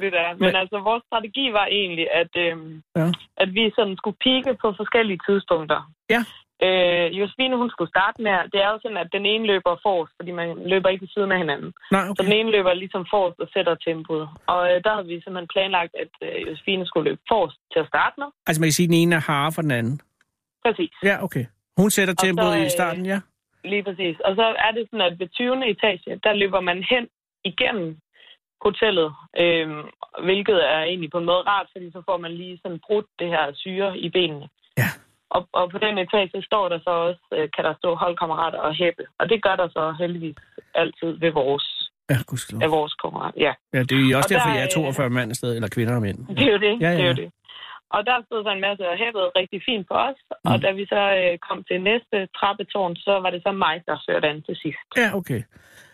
Men- det er det der. Men, men- men altså, vores strategi var egentlig, at, øhm, Ja. ja. at vi sådan skulle pike på forskellige tidspunkter. Ja. Øh, Josefine, hun skulle starte med, det er jo sådan, at den ene løber forrest, fordi man løber ikke ved siden af hinanden. Nej, Så okay. den ene løber ligesom forrest og sætter tempoet. Og øh, der havde vi simpelthen planlagt, at øh, Josefine skulle løbe forrest til at starte med. Altså man kan sige, at den ene er hare for den anden. Præcis. Ja, okay. Hun sætter Og tempoet så, i øh, starten, ja. Lige præcis. Og så er det sådan, at ved 20. etage, der løber man hen igennem hotellet, øhm, hvilket er egentlig på en måde rart, fordi så får man lige sådan brudt det her syre i benene. Ja. Og, og på den etage står der så også, øh, kan der stå holdkammerater og hæppe. Og det gør der så heldigvis altid ved vores, Ja, gudskelov. af vores konkurrent. Ja. Ja, det er jo også Og der, derfor, jeg er øh, 42 mand afsted, eller kvinder og mænd. Det er jo det. Ja, Ja, ja, ja. Det er ja. jo det. Og der stod så en masse og hæppede rigtig fint for os. Mm. Mm. Og da vi så øh, kom til næste trappetårn, så var det så mig, der førte an til sidst. Ja, okay.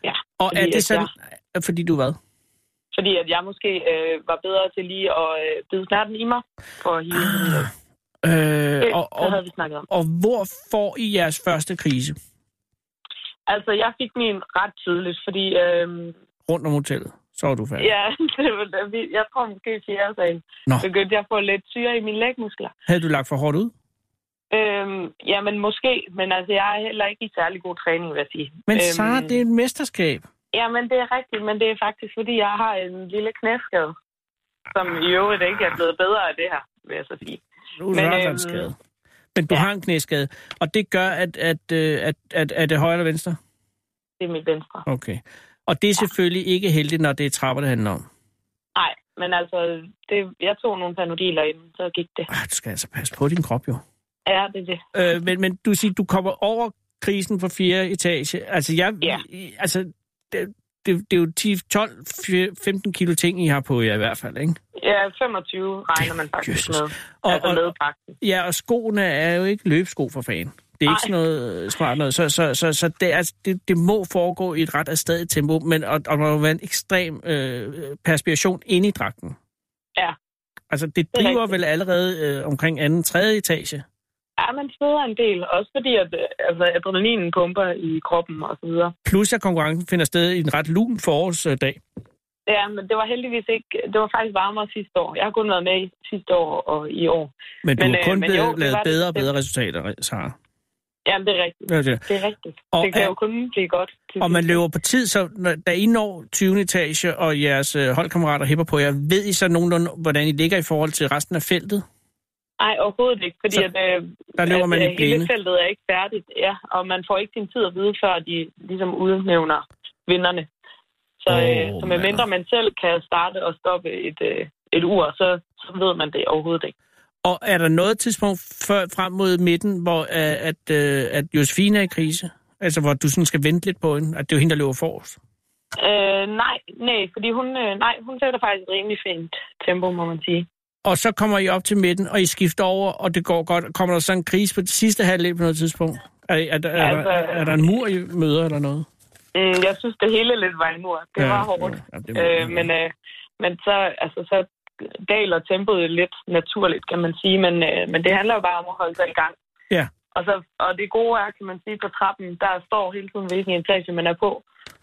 Ja, og fordi er det at sådan, fordi du hvad? Fordi at jeg måske øh, var bedre til lige at øh, bide smerten i mig for at hive hende. ned. Øh, Det, Ah, og, det havde og, vi snakket om. og hvor får I jeres første krise Altså, jeg fik min ret tidligt, fordi øh, rundt om hotellet? Så er du færdig. ja, det var, da vi- jeg tror måske i fjerde sal, Nå. begyndte jeg at få lidt syre i mine lægmuskler. Havde du lagt for hårdt ud? Øhm, jamen, måske, men altså, jeg er heller ikke i særlig god træning, vil jeg sige. Men øhm, Sara, det er et mesterskab. Jamen, det er rigtigt, men det er faktisk, fordi jeg har en lille knæskade, som i øvrigt ikke er blevet bedre af det her, vil jeg så sige. Nu er du Men, men, øhm, øhm, skade. Men du ja. har en knæskade, og det gør, at, at, øh, at, at, at det er højre eller venstre? Det er mit venstre. Okay. Og det er selvfølgelig ikke heldigt, når det er trapper, det handler om. Nej, men altså, det, jeg tog nogle panodiler inden, så gik det. Ej, du skal altså passe på din krop, jo. Ja, det er det. Øh, men, men du siger, du kommer over krisen fra fjerde etage. Altså, jeg, Ja. i- altså det, det, det er jo 10, 12, 15 kilo ting, I har på jer i hvert fald, ikke? Ja, 25 regner man faktisk Jesus. med. Og, altså og, med pakken. ja, og skoene er jo ikke løbsko for fanden. Det er ikke Nej. sådan noget øh, smart noget. Så, så, så, så det, er, det, det må foregå i et ret afstadigt tempo, men og, og der må være en ekstrem øh, perspiration inde i dragten. Ja. Altså, det er driver rigtigt. vel allerede øh, omkring anden, tredje etage. Ja, man sveder en del, også fordi at, øh, altså, adrenalinen pumper i kroppen og så videre. Plus, at konkurrencen finder sted i en ret lun forårsdag. Ja, men det var heldigvis ikke, det var faktisk varmere sidste år. Jeg har kun været med i sidste år og i år. Men du Men, men, har øh, kun men blevet jo, det lavet var det bedre og bestemt. bedre resultater, Sara. Jamen, det er rigtigt. Det er det. Det er rigtigt. Og Og, det kan er- jo kun blive godt. til Og man sidst. løber på tid, så når, da I når 20. etage, og jeres øh, holdkammerater hæpper på jer, ved I så nogenlunde, hvordan I ligger i forhold til resten af feltet? Nej, overhovedet ikke, fordi Så- at, øh, Der løber at, man i øh, hele blinde. feltet er ikke færdigt, ja, og man får ikke sin tid at vide, før de ligesom udnævner vinderne. Så, Åh, oh, øh, så mand. medmindre man selv kan starte og stoppe et, øh, et ur, så, så ved man det overhovedet ikke. Og er der noget tidspunkt før, frem mod midten, hvor øh, at, øh, at Josefine er i krise? Altså, hvor du sådan skal vente lidt på hende, at det er jo hende, der løber forrest. Øh, nej, nej, fordi hun, øh, nej, hun sætter faktisk et rimelig fint tempo, må man sige. Og så kommer I op til midten, og I skifter over, og det går godt. Kommer der så en krise på det sidste halvdel på noget tidspunkt? Er, er, er, er, Altså- er, er der en mur, I møder, eller noget? Mm, jeg synes, det hele lidt var en mur. Det ja, var hårdt. Ja, det må Ja. Øh, man. men, øh, men så, altså, så daler tempoet lidt naturligt, kan man sige. Men, øh, men det handler jo bare om at holde sig i gang. Ja. Og, så, og det gode er, kan man sige, på trappen, der står hele tiden, hvilken etage man er på.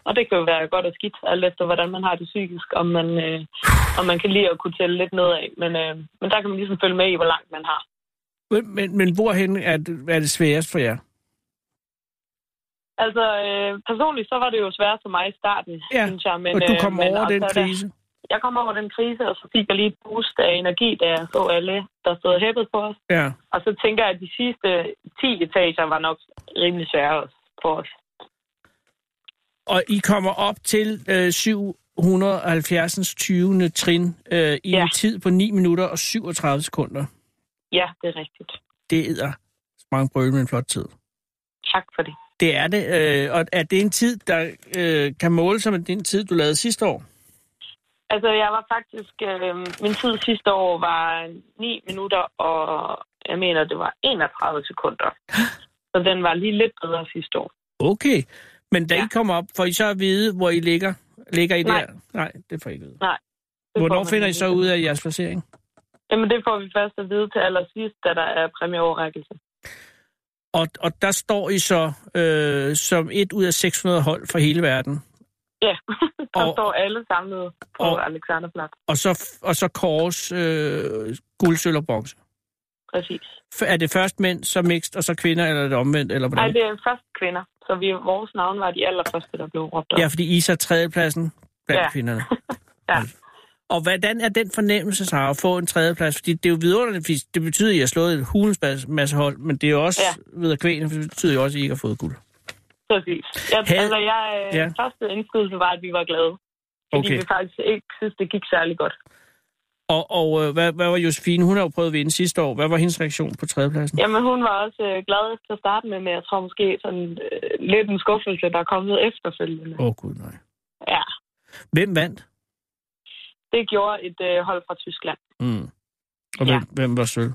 Og det kan jo være godt og skidt, alt efter hvordan man har det psykisk, om man, øh, om man kan lide at kunne tælle lidt nedad. Men, øh, men der kan man ligesom følge med i, hvor langt man har. Men, men, men hvorhen er det, er det sværest for jer? Altså, øh, personligt så var det jo svært for mig i starten, Ja, synes jeg. Men, Men, og du øh, kommer men over den altså, da- krise? Jeg kom over den krise, og så fik jeg lige et boost af energi, da jeg så alle, der stod og hæppede på os. Ja. Og så tænker jeg, at de sidste 10 etager var nok rimelig svære også for os. Og I kommer op til øh, 770. 20. trin øh, i ja. Ja. en tid på 9 minutter og 37 sekunder. Ja, det er rigtigt. Det er mange brøl med en flot tid. Tak for det. Det er det, øh, og er det en tid, der øh, kan måle sig med den tid, du lavede sidste år? Altså, jeg var faktisk... Øh, min tid sidste år var 9 minutter, og jeg mener, det var 31 sekunder. Så den var lige lidt bedre sidste år. Okay, men da ja. Ja. I kommer op, får I så at vide, hvor I ligger? Ligger I Nej. der? Nej, det får I ikke at vide. Det får Hvornår man finder I lige så lidt. ud af jeres placering? Jamen, det får vi først at vide til allersidst, da der er præmieoverrækkelse. Og, og der står I så øh, som et ud af 600 hold fra hele verden. Ja, der Og- og, står alle samlet på og- og, Alexanderplatz. Og så, og så kåres øh, guld, sølv og bronze. Præcis. F- Er det først mænd, så mixed, og så kvinder, eller er det omvendt, eller hvordan? Nej, det er først kvinder, så vi, vores navn var de allerførste, der blev råbt op. Ja, fordi Isa er tredjepladsen blandt ja. Ja. kvinderne. Ja. Og hvordan er den fornemmelse, så at få en tredjeplads? Fordi det er jo vidunderligt, fordi det betyder, at I har slået et hulens mas- masse hold, men det er jo også ja. ved at kvæle, for det betyder jo også, at I ikke har fået guld. Præcis. Jeg, Havde- altså, jeg, Ja. ja. første indskydelse var, at vi var glade. Fordi Okay. vi faktisk ikke synes, det gik særlig godt. Og, og øh, hvad, hvad var Josefine? Hun har jo prøvet at vinde sidste år. Hvad var hendes reaktion på tredjepladsen? Jamen, hun var også øh, glad til at starte med, men jeg tror måske sådan øh, lidt en skuffelse, der er kommet efterfølgende. Åh, oh, gud nej. Ja, Hvem vandt? det gjorde et øh, hold fra Tyskland. Mm. Og Ja. hvem, hvem var sølv?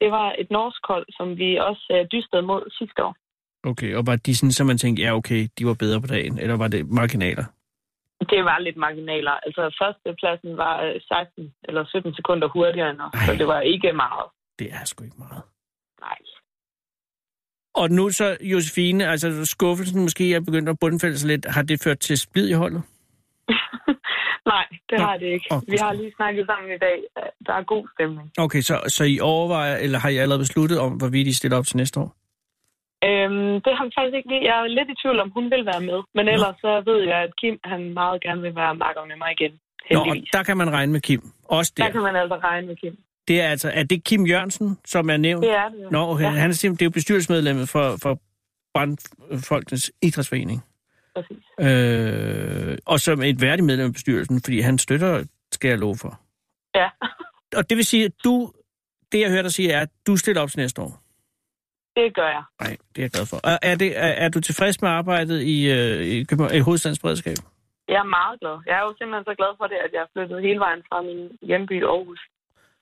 Det var et norsk hold, som vi også øh, dystede mod sidste år. Okay, og var de sådan, så man tænkte, ja okay, de var bedre på dagen, eller var det marginaler? Det var lidt marginaler. Altså, førstepladsen var øh, 16 eller 17 sekunder hurtigere end os, så Ej. det var ikke meget. Det er sgu ikke meget. Nej. Og nu så Josefine, altså skuffelsen måske er begyndt at bundfælde sig lidt. Har det ført til splid i holdet? Nej, det Nå. har det ikke. Åh, Vi har lige snakket sammen i dag. Øh, Der er god stemning. Okay, så, så I overvejer, eller har I allerede besluttet om, hvorvidt I stiller op til næste år? Øhm, det har vi faktisk ikke lige. Jeg er lidt i tvivl om, hun vil være med. Men ellers så ved jeg, at Kim han meget gerne vil være makker med mig igen. Nå, og Heldigvis. der kan man regne med Kim. Også der der. kan man altså regne med Kim. Det er altså, er det Kim Jørgensen, som er nævnt? Det er det. Nå, okay. Ja. han er simpelthen, det er jo bestyrelsesmedlemmet for, for Brandfolkenes Idrætsforening. Præcis. Øh, og som et værdigt medlem af bestyrelsen, fordi han støtter, skal jeg love for. Ja. Og det vil sige, at du, det jeg hører dig sige, er, at du stiller op til næste år. Det gør jeg. Nej, det er jeg glad for. Og er, det, er, er du tilfreds med arbejdet i, øh, i, København- i hovedstadens beredskab? Jeg er meget glad. Jeg er jo simpelthen så glad for det, at jeg er flyttet hele vejen fra min hjemby Aarhus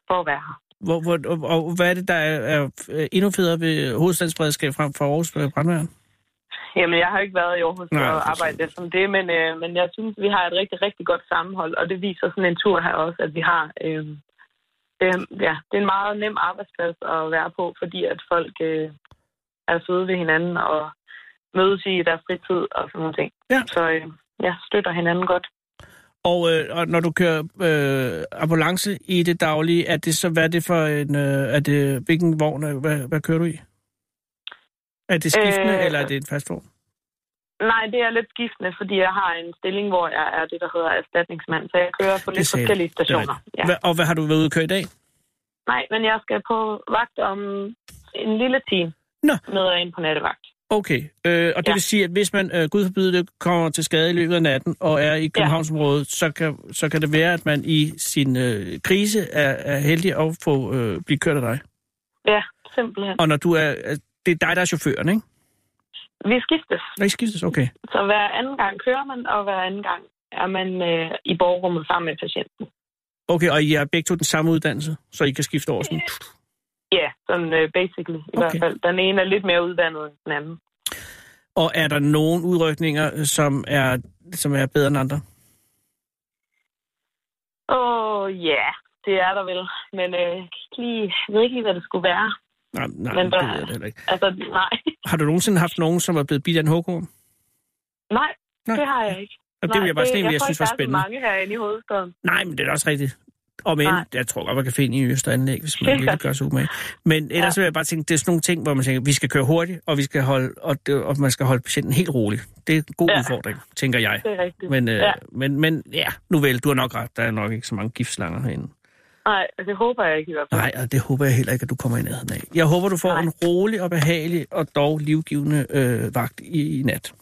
for at være her. Hvor, hvor, og, og hvad er det, der er, er øh, endnu federe ved hovedstadens beredskab frem for Aarhus øh, Brandværn? Jamen, jeg har ikke været i Aarhus Nej, Nej, for og arbejdet som det, men, øh, men jeg synes, vi har et rigtig, rigtig godt sammenhold, og det viser sådan en tur her også, at vi har... Øh, det, er- ja, det er en meget nem arbejdsplads at være på, fordi at folk øh, er søde ved hinanden og mødes i deres fritid og sådan nogle ting. Ja. Så øh, ja, støtter hinanden godt. Og, øh, og når du kører øh, ambulance i det daglige, er det så, hvad er det for en, øh, er det, hvilken vogn, øh, hvad, hvad kører du i? Er det skiftende, øh... Øh. eller er det en fast vogn? Nej, det er lidt skiftende, fordi jeg har en stilling, hvor jeg er det, der hedder erstatningsmand, så jeg kører på lidt sagde du. forskellige Det er stationer. rigtigt. Hva, og hvad har du været ude at køre i dag? Nej, men jeg skal på vagt om en lille time. Nå. Med og ind på nattevagt. Okay, øh, og det ja. Ja. vil sige, at hvis man, øh, gud forbyde det, kommer til skade i løbet af natten og er i Københavnsområdet, så, kan, så kan det være, at man i sin øh, krise er, er heldig at få, øh, blive kørt af dig. Ja, simpelthen. Og når du er, øh, det er dig, der er chaufføren, ikke? Vi skiftes, Nej, skiftes, okay. så hver anden gang kører man, og hver anden gang er man øh, i borgerrummet sammen med patienten. Okay, og I har begge to den samme uddannelse, så I kan skifte over sådan. Ja, sådan øh, basically i Okay. okay. hvert fald. Den ene er lidt mere uddannet end den anden. Og er der nogen udrykninger, øh, som er, som er bedre end andre? Åh, ja, det er der vel. Men øh, jeg kan ikke lige, jeg ved ikke lige, hvad det skulle være. Nej, nej Men det der- ved jeg det heller ikke. Altså, nej. Har du nogensinde haft nogen, som er blevet bidt af en hukum? Nej, Nej. Det har jeg ikke. Og det vil jeg bare sådan en, jeg, tror synes var ikke, der er så spændende. mange herinde i hovedstaden. Nej, men det er da også rigtigt. Og men, Nej. jeg tror godt, man kan finde i Øst og Anlæg, hvis man Sikkert. virkelig gør sig umage. Men ellers Ja. ja. vil jeg bare tænke, det er sådan nogle ting, hvor man tænker, vi skal køre hurtigt, og, vi skal holde, og, det, og man skal holde patienten helt rolig. Det er en god Ja. ja. udfordring, tænker jeg. Det er rigtigt. Men, øh, Ja. ja. Men, men ja, nu vel, du har nok ret. Der er nok ikke så mange giftslanger herinde. Nej, altså, det håber jeg ikke i hvert fald. Nej, og det håber jeg heller ikke, at du kommer i nærheden af. Jeg håber, du får Nej. Nej. en rolig og behagelig og dog livgivende øh, vagt i, i nat.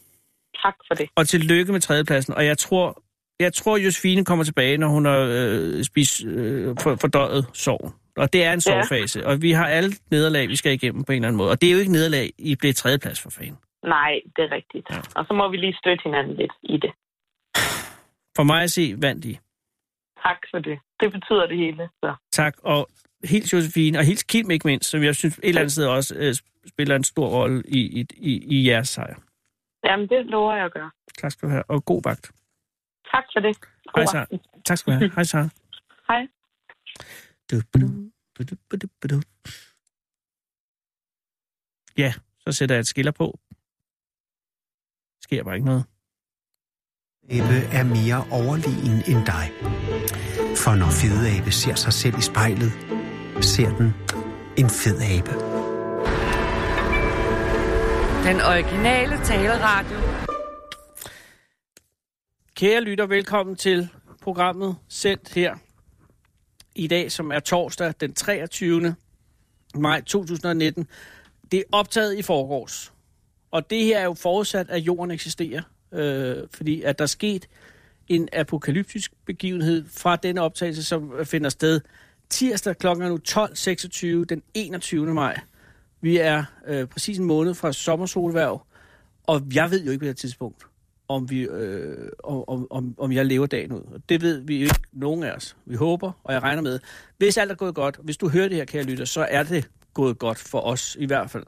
Tak for det. Og tillykke med tredjepladsen. Og jeg tror, jeg tror Josefine kommer tilbage, når hun har øh, spist øh, for, fordøjet sorg. Og det er en sorgfase. Ja. Og vi har alle nederlag, vi skal igennem på en eller anden måde. Og det er jo ikke nederlag, I blev tredjeplads for fanden. Nej, det er rigtigt. Ja. Og så må vi lige støtte hinanden lidt i det. For mig at se, vandt I. Tak for det. Det betyder det hele. Så. Tak, og hils Josefine, og hils Kim ikke mindst, som jeg synes et eller andet sted også øh, spiller en stor rolle i, i, i, i jeres sejr. Jamen, det lover jeg at gøre. Tak skal du have, og god vagt. Tak for det. God Hej, Sara. aften. Tak skal du have. Hej, Sara. Hej. Du, budu, budu, budu, budu. Ja, så sætter jeg et skiller på. Sker bare ikke noget. Abe er mere overlegen end dig. For når fede abe ser sig selv i spejlet, ser den en fed abe. Den originale taleradio. Kære lytter, velkommen til programmet Sendt her i dag, som er torsdag den 23. maj 2019. Det er optaget i forgårs, og det her er jo forudsat, at jorden eksisterer, øh, fordi at der er sket en apokalyptisk begivenhed fra denne optagelse, som finder sted tirsdag kl. 12.26 den 21. maj. Vi er øh, præcis en måned fra sommersolværv, og jeg ved jo ikke på det her tidspunkt, om, vi, øh, om- om, om, om jeg lever dagen ud. Og Det ved vi jo ikke, nogen af os. Vi håber, og jeg regner med. Hvis alt er gået godt, hvis du hører det her, kære lytter, så er det gået godt for os i hvert fald.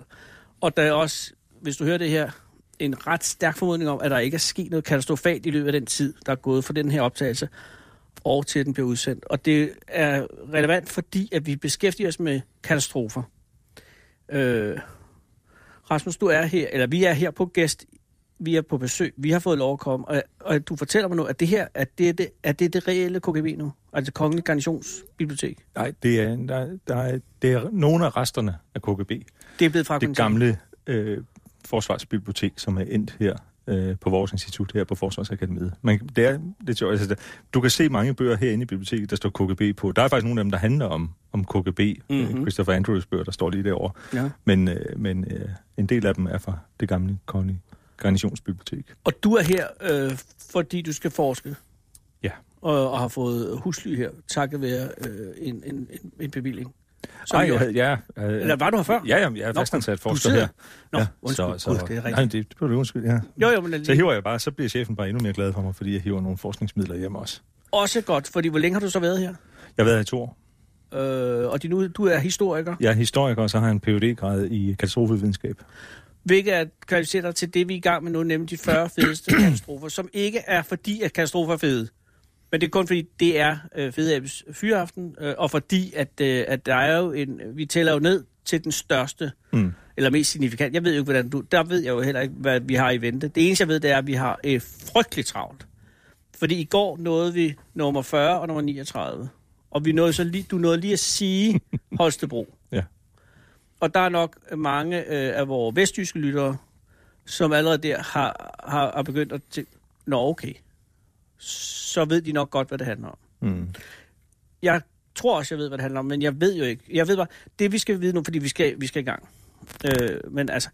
Og der er også, hvis du hører det her, en ret stærk formodning om, at der ikke er sket noget katastrofalt i løbet af den tid, der er gået for den her optagelse, og til at den bliver udsendt. Og det er relevant, fordi at vi beskæftiger os med katastrofer. Øh, Rasmus, du er her, eller vi er her på gæst vi er på besøg, vi har fået lov at komme, og, og du fortæller mig nu, at det her, at det, er det, at det er det reelle KGB nu, altså det Kongelige Garnitionsbibliotek. Nej, det er, der, der er, det er nogle af resterne af KGB. Det er blevet fragmenteret. Det gamle øh, forsvarsbibliotek, som er endt her øh, på vores institut, her på Forsvarsakademiet. Man, det er lidt sjovt. Altså, der, du kan se mange bøger herinde i biblioteket, der står KGB på. Der er faktisk nogle af dem, der handler om, om KGB. Mm-hmm. Christopher Andrews bøger, der står lige derovre. Mhm. Ja. Men, øh, men øh, en del af dem er fra det gamle kongelige garnitionsbibliotek. Og du er her, øh, fordi du skal forske, Ja. og, og har fået husly her, takket være øh, en, en, en, en bevilling. Som Nej, jo- jeg, havde- ja, øh, Eller var du her før? Ja, ja, jeg er Nå, fastansat du forsker sidder- her. Nå, ja, undskyld, Gud, det er rigtigt. Nej, det, det blev du undskyld, ja. Jo, jo, men alligevel. Så hiver jeg bare, så bliver chefen bare endnu mere glad for mig, fordi jeg hiver nogle forskningsmidler hjem også. Også godt, fordi hvor længe har du så været her? Jeg har været her i to år. Øh, og din, ud- du er historiker, Jeg er historiker, og så har jeg en phd grad i katastrofevidenskab. hvilket er kvalificerer dig til det, vi er i gang med nu, nemlig de 40 fedeste katastrofer, som ikke er fordi, at katastrofer er fede. Men det er kun fordi, det er øh, Fede Abes fyraften, øh, og fordi, at, øh, at der er jo en, vi tæller jo ned til den største, mm. eller mest signifikant. Jeg ved jo ikke, hvordan du, der ved jeg jo heller ikke, hvad vi har i vente. Det eneste, jeg ved, det er, at vi har øh, frygteligt travlt. Fordi i går nåede vi nummer 40 og nummer 39. Og vi nåede så lige, du nåede lige at sige Holstebro. Ja. Og der er nok mange øh, af vores vestjyske lyttere, som allerede der har, har, har begyndt at tænke, nå okay, så ved de nok godt, hvad det handler om. Mm. Jeg tror også, jeg ved, hvad det handler om, men jeg ved jo ikke. Jeg ved bare, det vi skal vide nu, fordi vi skal, vi skal i gang. Øh, men altså,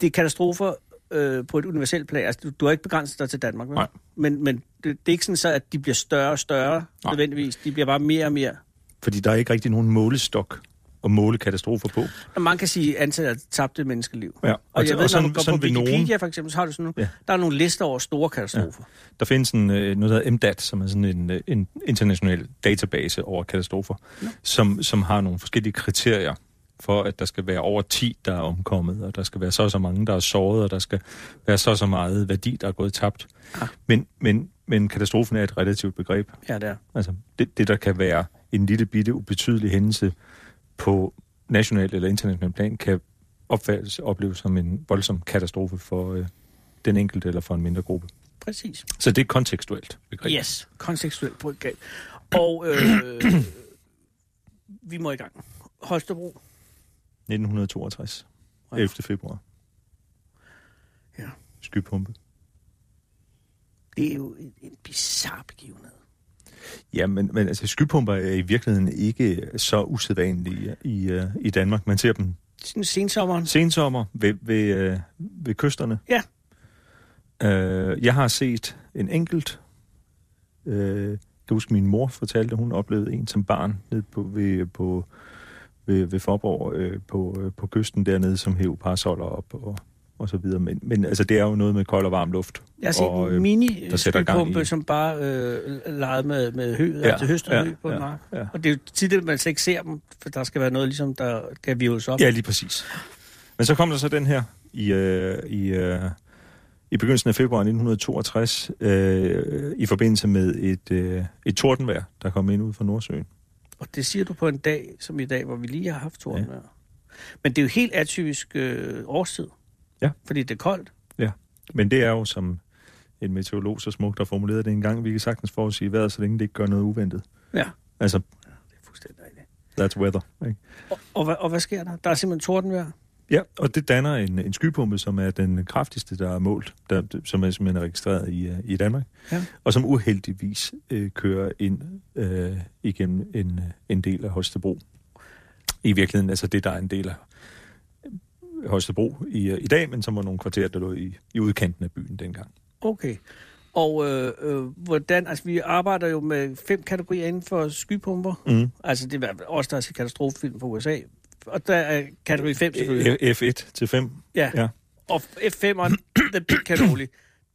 det er katastrofer øh, på et universelt plan. Altså, du, du har ikke begrænset dig til Danmark, vel? Nej. Men, men det, det er ikke sådan så, at de bliver større og større, Nej. nødvendigvis. De bliver bare mere og mere. Fordi der er ikke rigtig nogen målestok at måle katastrofer på. Og man kan sige antallet af tabte menneskeliv. Ja. Altså, Og, og jeg ved, når sådan- man går sådan på vil nogen- Wikipedia for eksempel, så har du sådan nogle, Ja. ja. der er nogle lister over store katastrofer. Ja. Der findes en, øh, noget, der hedder MDAT, som er sådan en, øh, en international database over katastrofer, som, som har nogle forskellige kriterier for, at der skal være over 10, der er omkommet, og der skal være så og så mange, der er såret, og der skal være så og så meget værdi, der er gået tabt. Ah. Men, men, men katastrofen er et relativt begreb. Ja, det er. Altså det, det, der kan være en lille bitte ubetydelig hændelse på national eller international plan, kan opfattes, opleves som en voldsom katastrofe for øh, den enkelte eller for en mindre gruppe. præcis. Så det er kontekstuelt begreb. Yes, kontekstuelt begreb. Og øh, vi må i gang. Holstebro. 1962. Ja. 11. februar. Ja. Skypumpe. Det er jo en, en bizarre begivenhed. Ja, men, men altså, skypumper er i virkeligheden ikke så usædvanlige i, øh, i Danmark. Man ser dem Sådan sensommeren. sensommer ved, ved, øh, ved kysterne. Ja. Øh, jeg har set en enkelt. Øh, jeg kan huske, min mor fortalte, at hun oplevede en som barn nede på, ved, på, ved, ved Forborg øh, på, øh, på kysten dernede, som hæv parasoller op og, og så videre. Men, men altså, det er jo noget med kold og varm luft. Jeg har set og, øh, en mini der sætter gang i- skypumpe, som bare øh, legede med, med høet, ja, altså høst og hø på en mark. Ja, Og det er jo tit, at man slet ikke ser dem, for der skal være noget, ligesom, der kan virves op. ja, lige præcis. Men så kom der så den her i, øh, i, øh, i begyndelsen af februar 1962 øh, i forbindelse med et, øh, et tordenvejr, der kom ind ud fra Nordsøen. Og det siger du på en dag som i dag, hvor vi lige har haft tordenvejr. Ja. Men det er jo helt atypisk øh, årstid. Ja. Fordi det er koldt. Men det er jo, som en meteorolog så smukt har formuleret det engang, vi kan sagtens forudsige vejret, så længe det ikke gør noget uventet. Ja. Altså, Det er fuldstændig rigtigt. that's weather. Ikke? Og, og, hvad, og hvad sker der? Der er simpelthen tordenvejr. Ja, og det danner en, en skypumpe, som er den kraftigste, der er målt, der, som er simpelthen er registreret i, øh, i Danmark, Ja. og som uheldigvis øh, kører ind øh, igennem en, øh, en del af Holstebro. I virkeligheden, altså det, der er en del af Holstebro i, øh, i dag, men som var nogle kvarterer, der lå i, i udkanten af byen dengang. Okay. Og øh, øh, hvordan, altså vi arbejder jo med fem kategorier inden for skypumper. Mm. Altså det er i hvert fald os, der har set katastrofefilm fra USA. Og der er kategori 5 selvfølgelig. F- F1 til 5. Ja. ja. Og F5'eren, The Big Cannoli,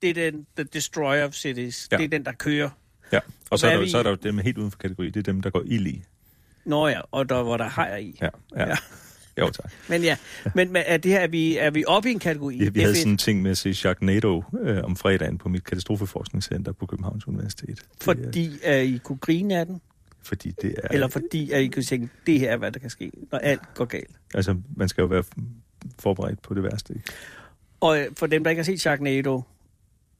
det er den, The Destroyer of Cities. Ja. Ja. Det er den, der kører. ja. Og så Hvad er, er der, jo- vi- så er der jo dem helt uden for kategori, det er dem, der går ild i. Nå ja, og der, hvor der hajer i. Ja, ja. Ja. ja. Jo, tak. Men ja, men men er, det her, er, vi, er vi oppe i en kategori? Ja, vi havde F1? sådan en ting med at se Sharknado øh, om fredagen på mit katastrofeforskningscenter på Københavns Universitet. Det, øh, Fordi at I kunne grine af den? fordi det er... Ja. Eller fordi at I kunne tænke, det her er, hvad der kan ske, når alt går galt? Altså, man skal jo være forberedt på det værste. Ikke? Og øh, for dem, der ikke har set Sharknado,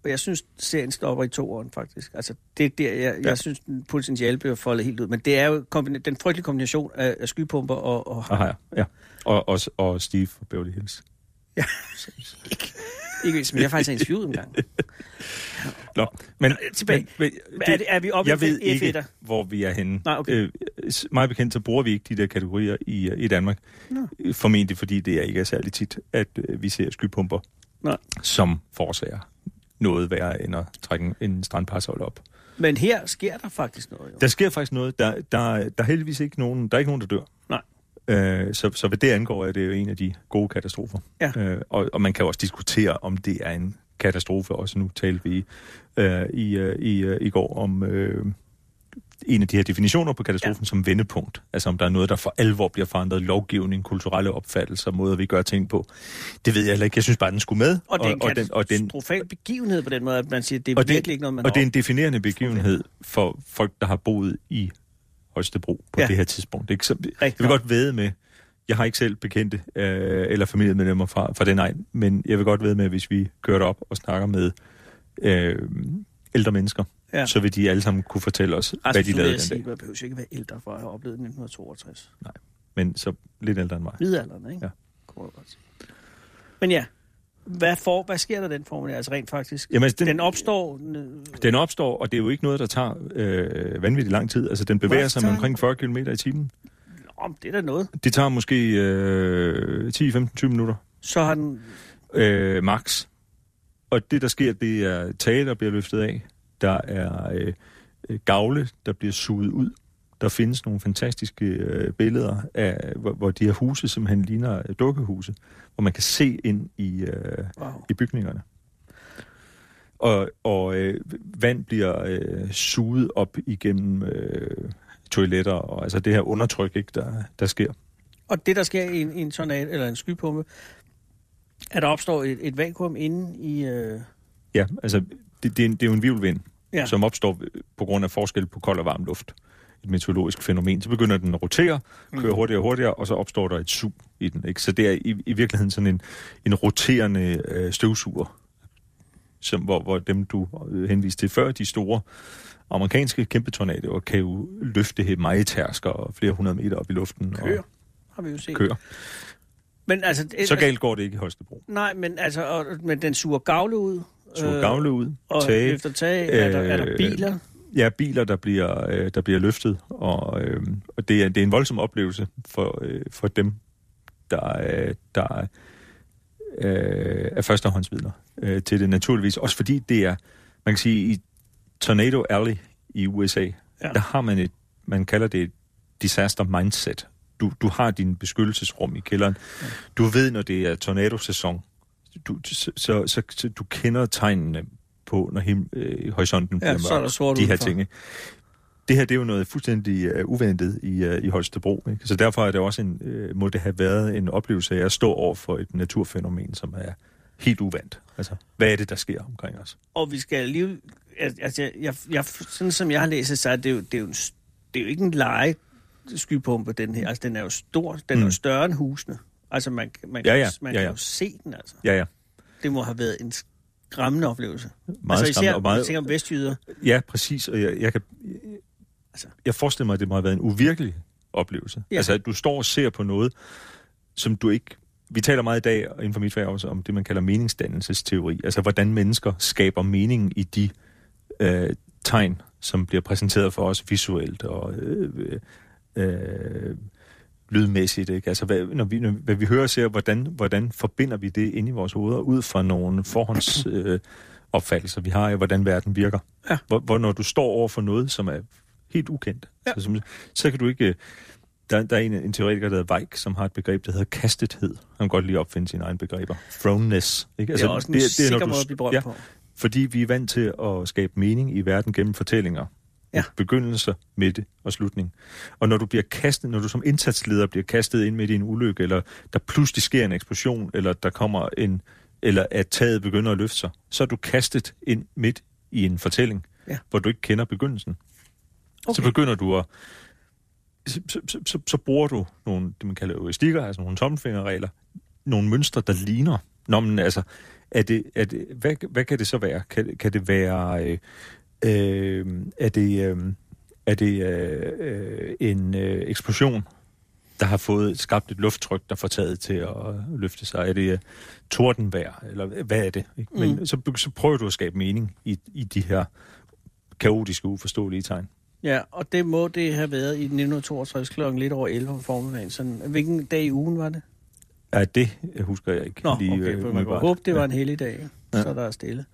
og jeg synes, serien stopper i to år, faktisk. Altså, det er der, jeg, ja. Ja. jeg synes, den potentiale bliver foldet helt ud. Men det er jo kombina- den frygtelige kombination af, af skypumper og, og Aha, ja. ja. Og, og, og Steve fra Beverly Hills. ikke mindst, men jeg faktisk har interviewet en gang. Nå, men... Øh, tilbage. Men, Men er, det, er vi oppe i jeg ved en ikke, F1'er? hvor vi er henne. Nej, okay. Øh, s- meget bekendt, så bruger vi ikke de der kategorier i, øh, i Danmark. Nå. Øh, Formentlig fordi det er ikke er særlig tit, at øh, vi ser skypumper, Nej. som forårsager noget værre end at trække en- en strandparasolle op. Men her sker der faktisk noget, jo. Der sker faktisk noget. Der, der, der er heldigvis ikke nogen, der er ikke nogen, der dør. Nej. Øh, så, så hvad det angår, er det jo en af de gode katastrofer. Ja. Øh, og, og man kan jo også diskutere, om det er en katastrofe. Også nu talte vi øh, i, øh, i, øh, i går om øh, en af de her definitioner på katastrofen ja. som vendepunkt. Altså om der er noget, der for alvor bliver forandret. Lovgivning, kulturelle opfattelser, måder vi gør ting på. Det ved jeg heller ikke. Jeg synes bare, den skulle med. Og det er en og, den, og den, katastrofal begivenhed på den måde, at man siger, at det er og det- virkelig ikke noget, man og har det er en definerende begivenhed for folk, der har boet i Holstebro på Ja. ja. det her tidspunkt. Ikke? Så, jeg Rigtig vil nok. godt ved med, jeg har ikke selv bekendte øh, eller familiemedlemmer fra, fra den egen, men jeg vil godt ved med, at hvis vi kører op og snakker med øh, ældre mennesker, Ja. ja. så vil de alle sammen kunne fortælle os, Altså, altså, hvad de nu vil lavede jeg den sige, dag. Man behøver jo ikke være ældre for at have oplevet 1962. Men så lidt ældre end mig. Middelalderen, ikke? Ja. Kunne man godt sige. Men ja, hvad, for, hvad sker der den formel, altså rent faktisk? Jamen, altså, Den, den- den opstår... n- Den opstår, og det er jo ikke noget, der tager øh, vanvittigt lang tid. Altså, den bevæger sig med omkring 40 km i timen. Nå, men det er da noget. Det tager måske øh, 10-15-20 minutter Så har den... øh, max. Og det, der sker, det er tage, der bliver løftet af. Der er øh, øh, gavle, der bliver suget ud. Der findes nogle fantastiske øh, billeder, af, hvor, hvor de her huse simpelthen ligner øh, dukkehuse, hvor man kan se ind i, øh, Wow. i bygningerne. Og, og øh, vand bliver øh, suget op igennem øh, toiletter, og altså det her undertryk, ikke, der, der sker. Og det, der sker i en, i en tornado, eller en skypumpe, at der opstår et, et vakuum inde i... Øh, Ja, altså det, det, er, en, det er jo en virvelvind, Ja. ja. som opstår på grund af forskel på kold og varm luft. Et meteorologisk fænomen. Så begynder den at rotere, kører hurtigere og hurtigere, og så opstår der et sug i den. Ikke? Så det er i, i virkeligheden sådan en, en roterende øh, støvsuger, som, hvor, hvor dem, du øh, henviste til før, de store amerikanske kæmpe tornadoer, kan jo løfte mejetærsker og flere hundrede meter op i luften. Køer, Og har vi jo set. køer. Men altså, Så galt går det ikke i Holstebro. Nej, men altså, og, men den suger gavle ud. Så gavle ud, Øh, og tage, efter tag, er, der, er der øh, biler. ja, biler, der bliver, øh, der bliver løftet, og, øh, og det, er, det er en voldsom oplevelse for, øh, for dem, der, øh, der øh, er førstehåndsvidner øh, til det naturligvis. Også fordi det er, man kan sige, i Tornado Alley i USA, ja. der har man et, man kalder det et disaster mindset. Du, du har din beskyttelsesrum i kælderen. Ja. Du ved, når det er tornadosæson, du, så, så, så, så du kender tegnene på, når him, øh, horisonten bliver Ja, så er der sort de her udenfor. ting. ikke? Det her, det er jo noget fuldstændig uh, uventet i, uh, i Holstebro. Ikke? Så derfor er det også en, uh, må det have været en oplevelse af at stå over for et naturfænomen, som er helt uvandt. Altså, hvad er det, der sker omkring os? Og vi skal lige... Altså, jeg, jeg, jeg, sådan som jeg har læst det, så er det jo, det er jo, en, s- det er jo ikke en lege skypumpe, den her. Altså, den er jo stor. Den er jo Mm. større end husene. Altså, man, man, Ja, kan- ja, man ja, kan ja. jo se den, altså. Ja, ja. Det må have været en skræmmende oplevelse. Meget altså, skræmmende og meget- Jeg tænker om vestjyder. Ja, præcis. Og jeg, jeg, kan, altså, jeg forestiller mig, at det må have været en uvirkelig oplevelse. Ja. Ja. Altså, at du står og ser på noget, som du ikke... Vi taler meget i dag og inden for mit fag også om det, man kalder meningsdannelsesteori. Altså, hvordan mennesker skaber mening i de øh, tegn, som bliver præsenteret for os visuelt og øh, øh, øh, lydmæssigt. Ikke? Altså, hvad, når vi, når, hvad vi hører og ser, hvordan, hvordan forbinder vi det ind i vores hoveder ud fra nogle forhånds... Øh, opfattelser, vi har af, hvordan verden virker. Ja. Hvor, hvor når du står over for noget, som er helt ukendt, ja. så, som, så kan du ikke... øh, Der, der er en, en teoretiker, der hedder Weik, som har et begreb, der hedder kastethed. Han kan godt lide at opfinde sine egne begreber. Thrownness. Ikke? Altså, Det er også en det, er, sikker når du- måde at blive berømt ja, på. Fordi vi er vant til at skabe mening i verden gennem fortællinger. Ja. Begyndelser, midte og slutning. Og når du bliver kastet, når du som indsatsleder bliver kastet ind midt i en ulykke, eller der pludselig sker en eksplosion, eller der kommer en, eller at taget begynder at løfte sig, så er du kastet ind midt i en fortælling, Ja. hvor du ikke kender begyndelsen. Okay. Okay. Så begynder du at så, så, så- så, så bruger du nogle, det man kalder heuristikker, altså nogle tommelfingerregler, nogle mønstre, der ligner. Nå, men altså, er det, er det, hvad, hvad kan det så være? Kan, kan det være, øh, øh, er det, øh, er det øh, øh, en øh, eksplosion, der har fået skabt et lufttryk, der får taget til at løfte sig? Er det øh, tordenvejr, eller hvad er det? Ikke? Men mm. så, så prøver du at skabe mening i, i de her kaotiske, uforståelige tegn. Ja, og det må det have været i 1962 kl. lidt over 11 om formiddagen. Sådan, hvilken dag i ugen var det? Ja, det øh, husker jeg ikke Nå, Lige, okay, øh, for man kunne umiddelbart. håbe, det var Ja. en heldig dag, ikke? så der er stille.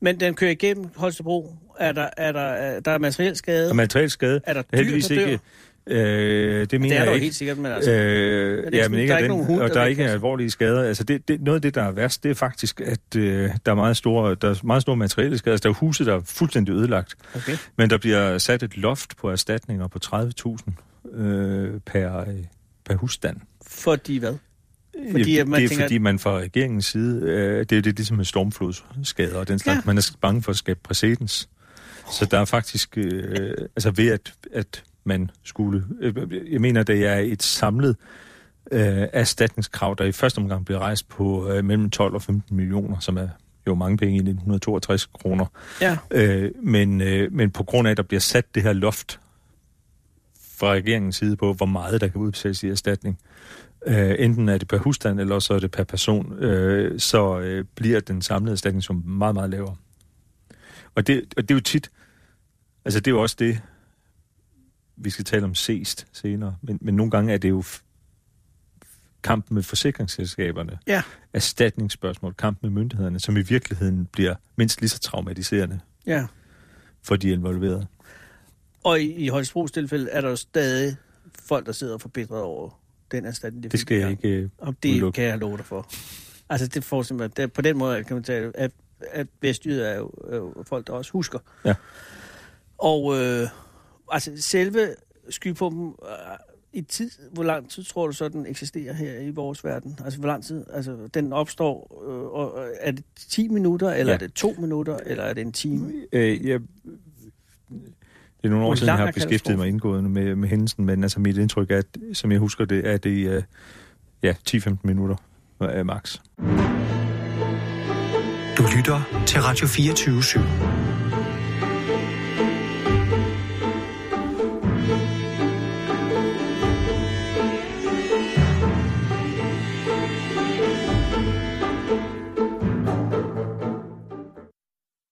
Men den kører igennem Holstebro. Er der, er der, er, der er materiel skade? Og materiel skade. Er der dyr, heldigvis der dør? ikke. Øh, det mener det er jeg der jo ikke. helt sikkert, men altså... Øh, Øh, ikke ja, sådan, men ikke der er af ikke den, nogen hund, og der der er væk, ikke altså? alvorlige skader. Altså det, det, noget af det, der er værst, det er faktisk, at øh, der er meget store, der er meget store materielle skader. Altså, der er jo huse, der er fuldstændig ødelagt. Okay. Men der bliver sat et loft på erstatninger på 30.000 øh, per, øh, per husstand. fordi hvad? Fordi, at det, man man det er tænker- fordi, man fra regeringens side, øh, det er jo det, ligesom med stormflodsskader og den slags, Ja. ja. man er bange for at skabe præcedens. Så der er faktisk, øh, altså ved at, at man skulle, øh, jeg mener, det er et samlet øh, erstatningskrav, der i første omgang blev rejst på øh, mellem 12 og 15 millioner, som er jo mange penge i 1962 kroner. Ja, Øh, men, øh, men på grund af, at der bliver sat det her loft fra regeringens side på, hvor meget der kan udbetales i erstatning, øh, enten er det per husstand, eller så er det per person, øh, så øh, bliver den samlede erstatning som meget, meget lavere. Og det, og det er jo tit, altså det er jo også det, vi skal tale om sest senere, men, men nogle gange er det jo f- kampen med forsikringsselskaberne, ja. erstatningsspørgsmål, kampen med myndighederne, som i virkeligheden bliver mindst lige så traumatiserende ja. for de involverede. Og i, i Holstebros tilfælde er der jo stadig folk, der sidder forbitret over den erstatning. Det skal fik jeg engang. ikke øh, Og det udelukke. kan jeg love dig for. Altså, det får simpelthen... Det, på den måde kan man tale, at, at vestjyder er jo, er jo folk, der også husker. Ja. Og øh, altså, selve skypumpen... Øh, i tid, hvor lang tid tror du så, den eksisterer her i vores verden? Altså, hvor lang tid? Altså, den opstår... Øh, og, og er det 10 minutter, eller Ja. er det 2 minutter, eller er det en time? Øh, jeg, det er nogle Hvor år siden, jeg lang har er beskæftiget katastrofen? mig indgående med, med hændelsen, men altså mit indtryk er, at, som jeg husker det, er det øh, ja, 10-15 minutter øh, max. Du lytter til Radio 24 /7.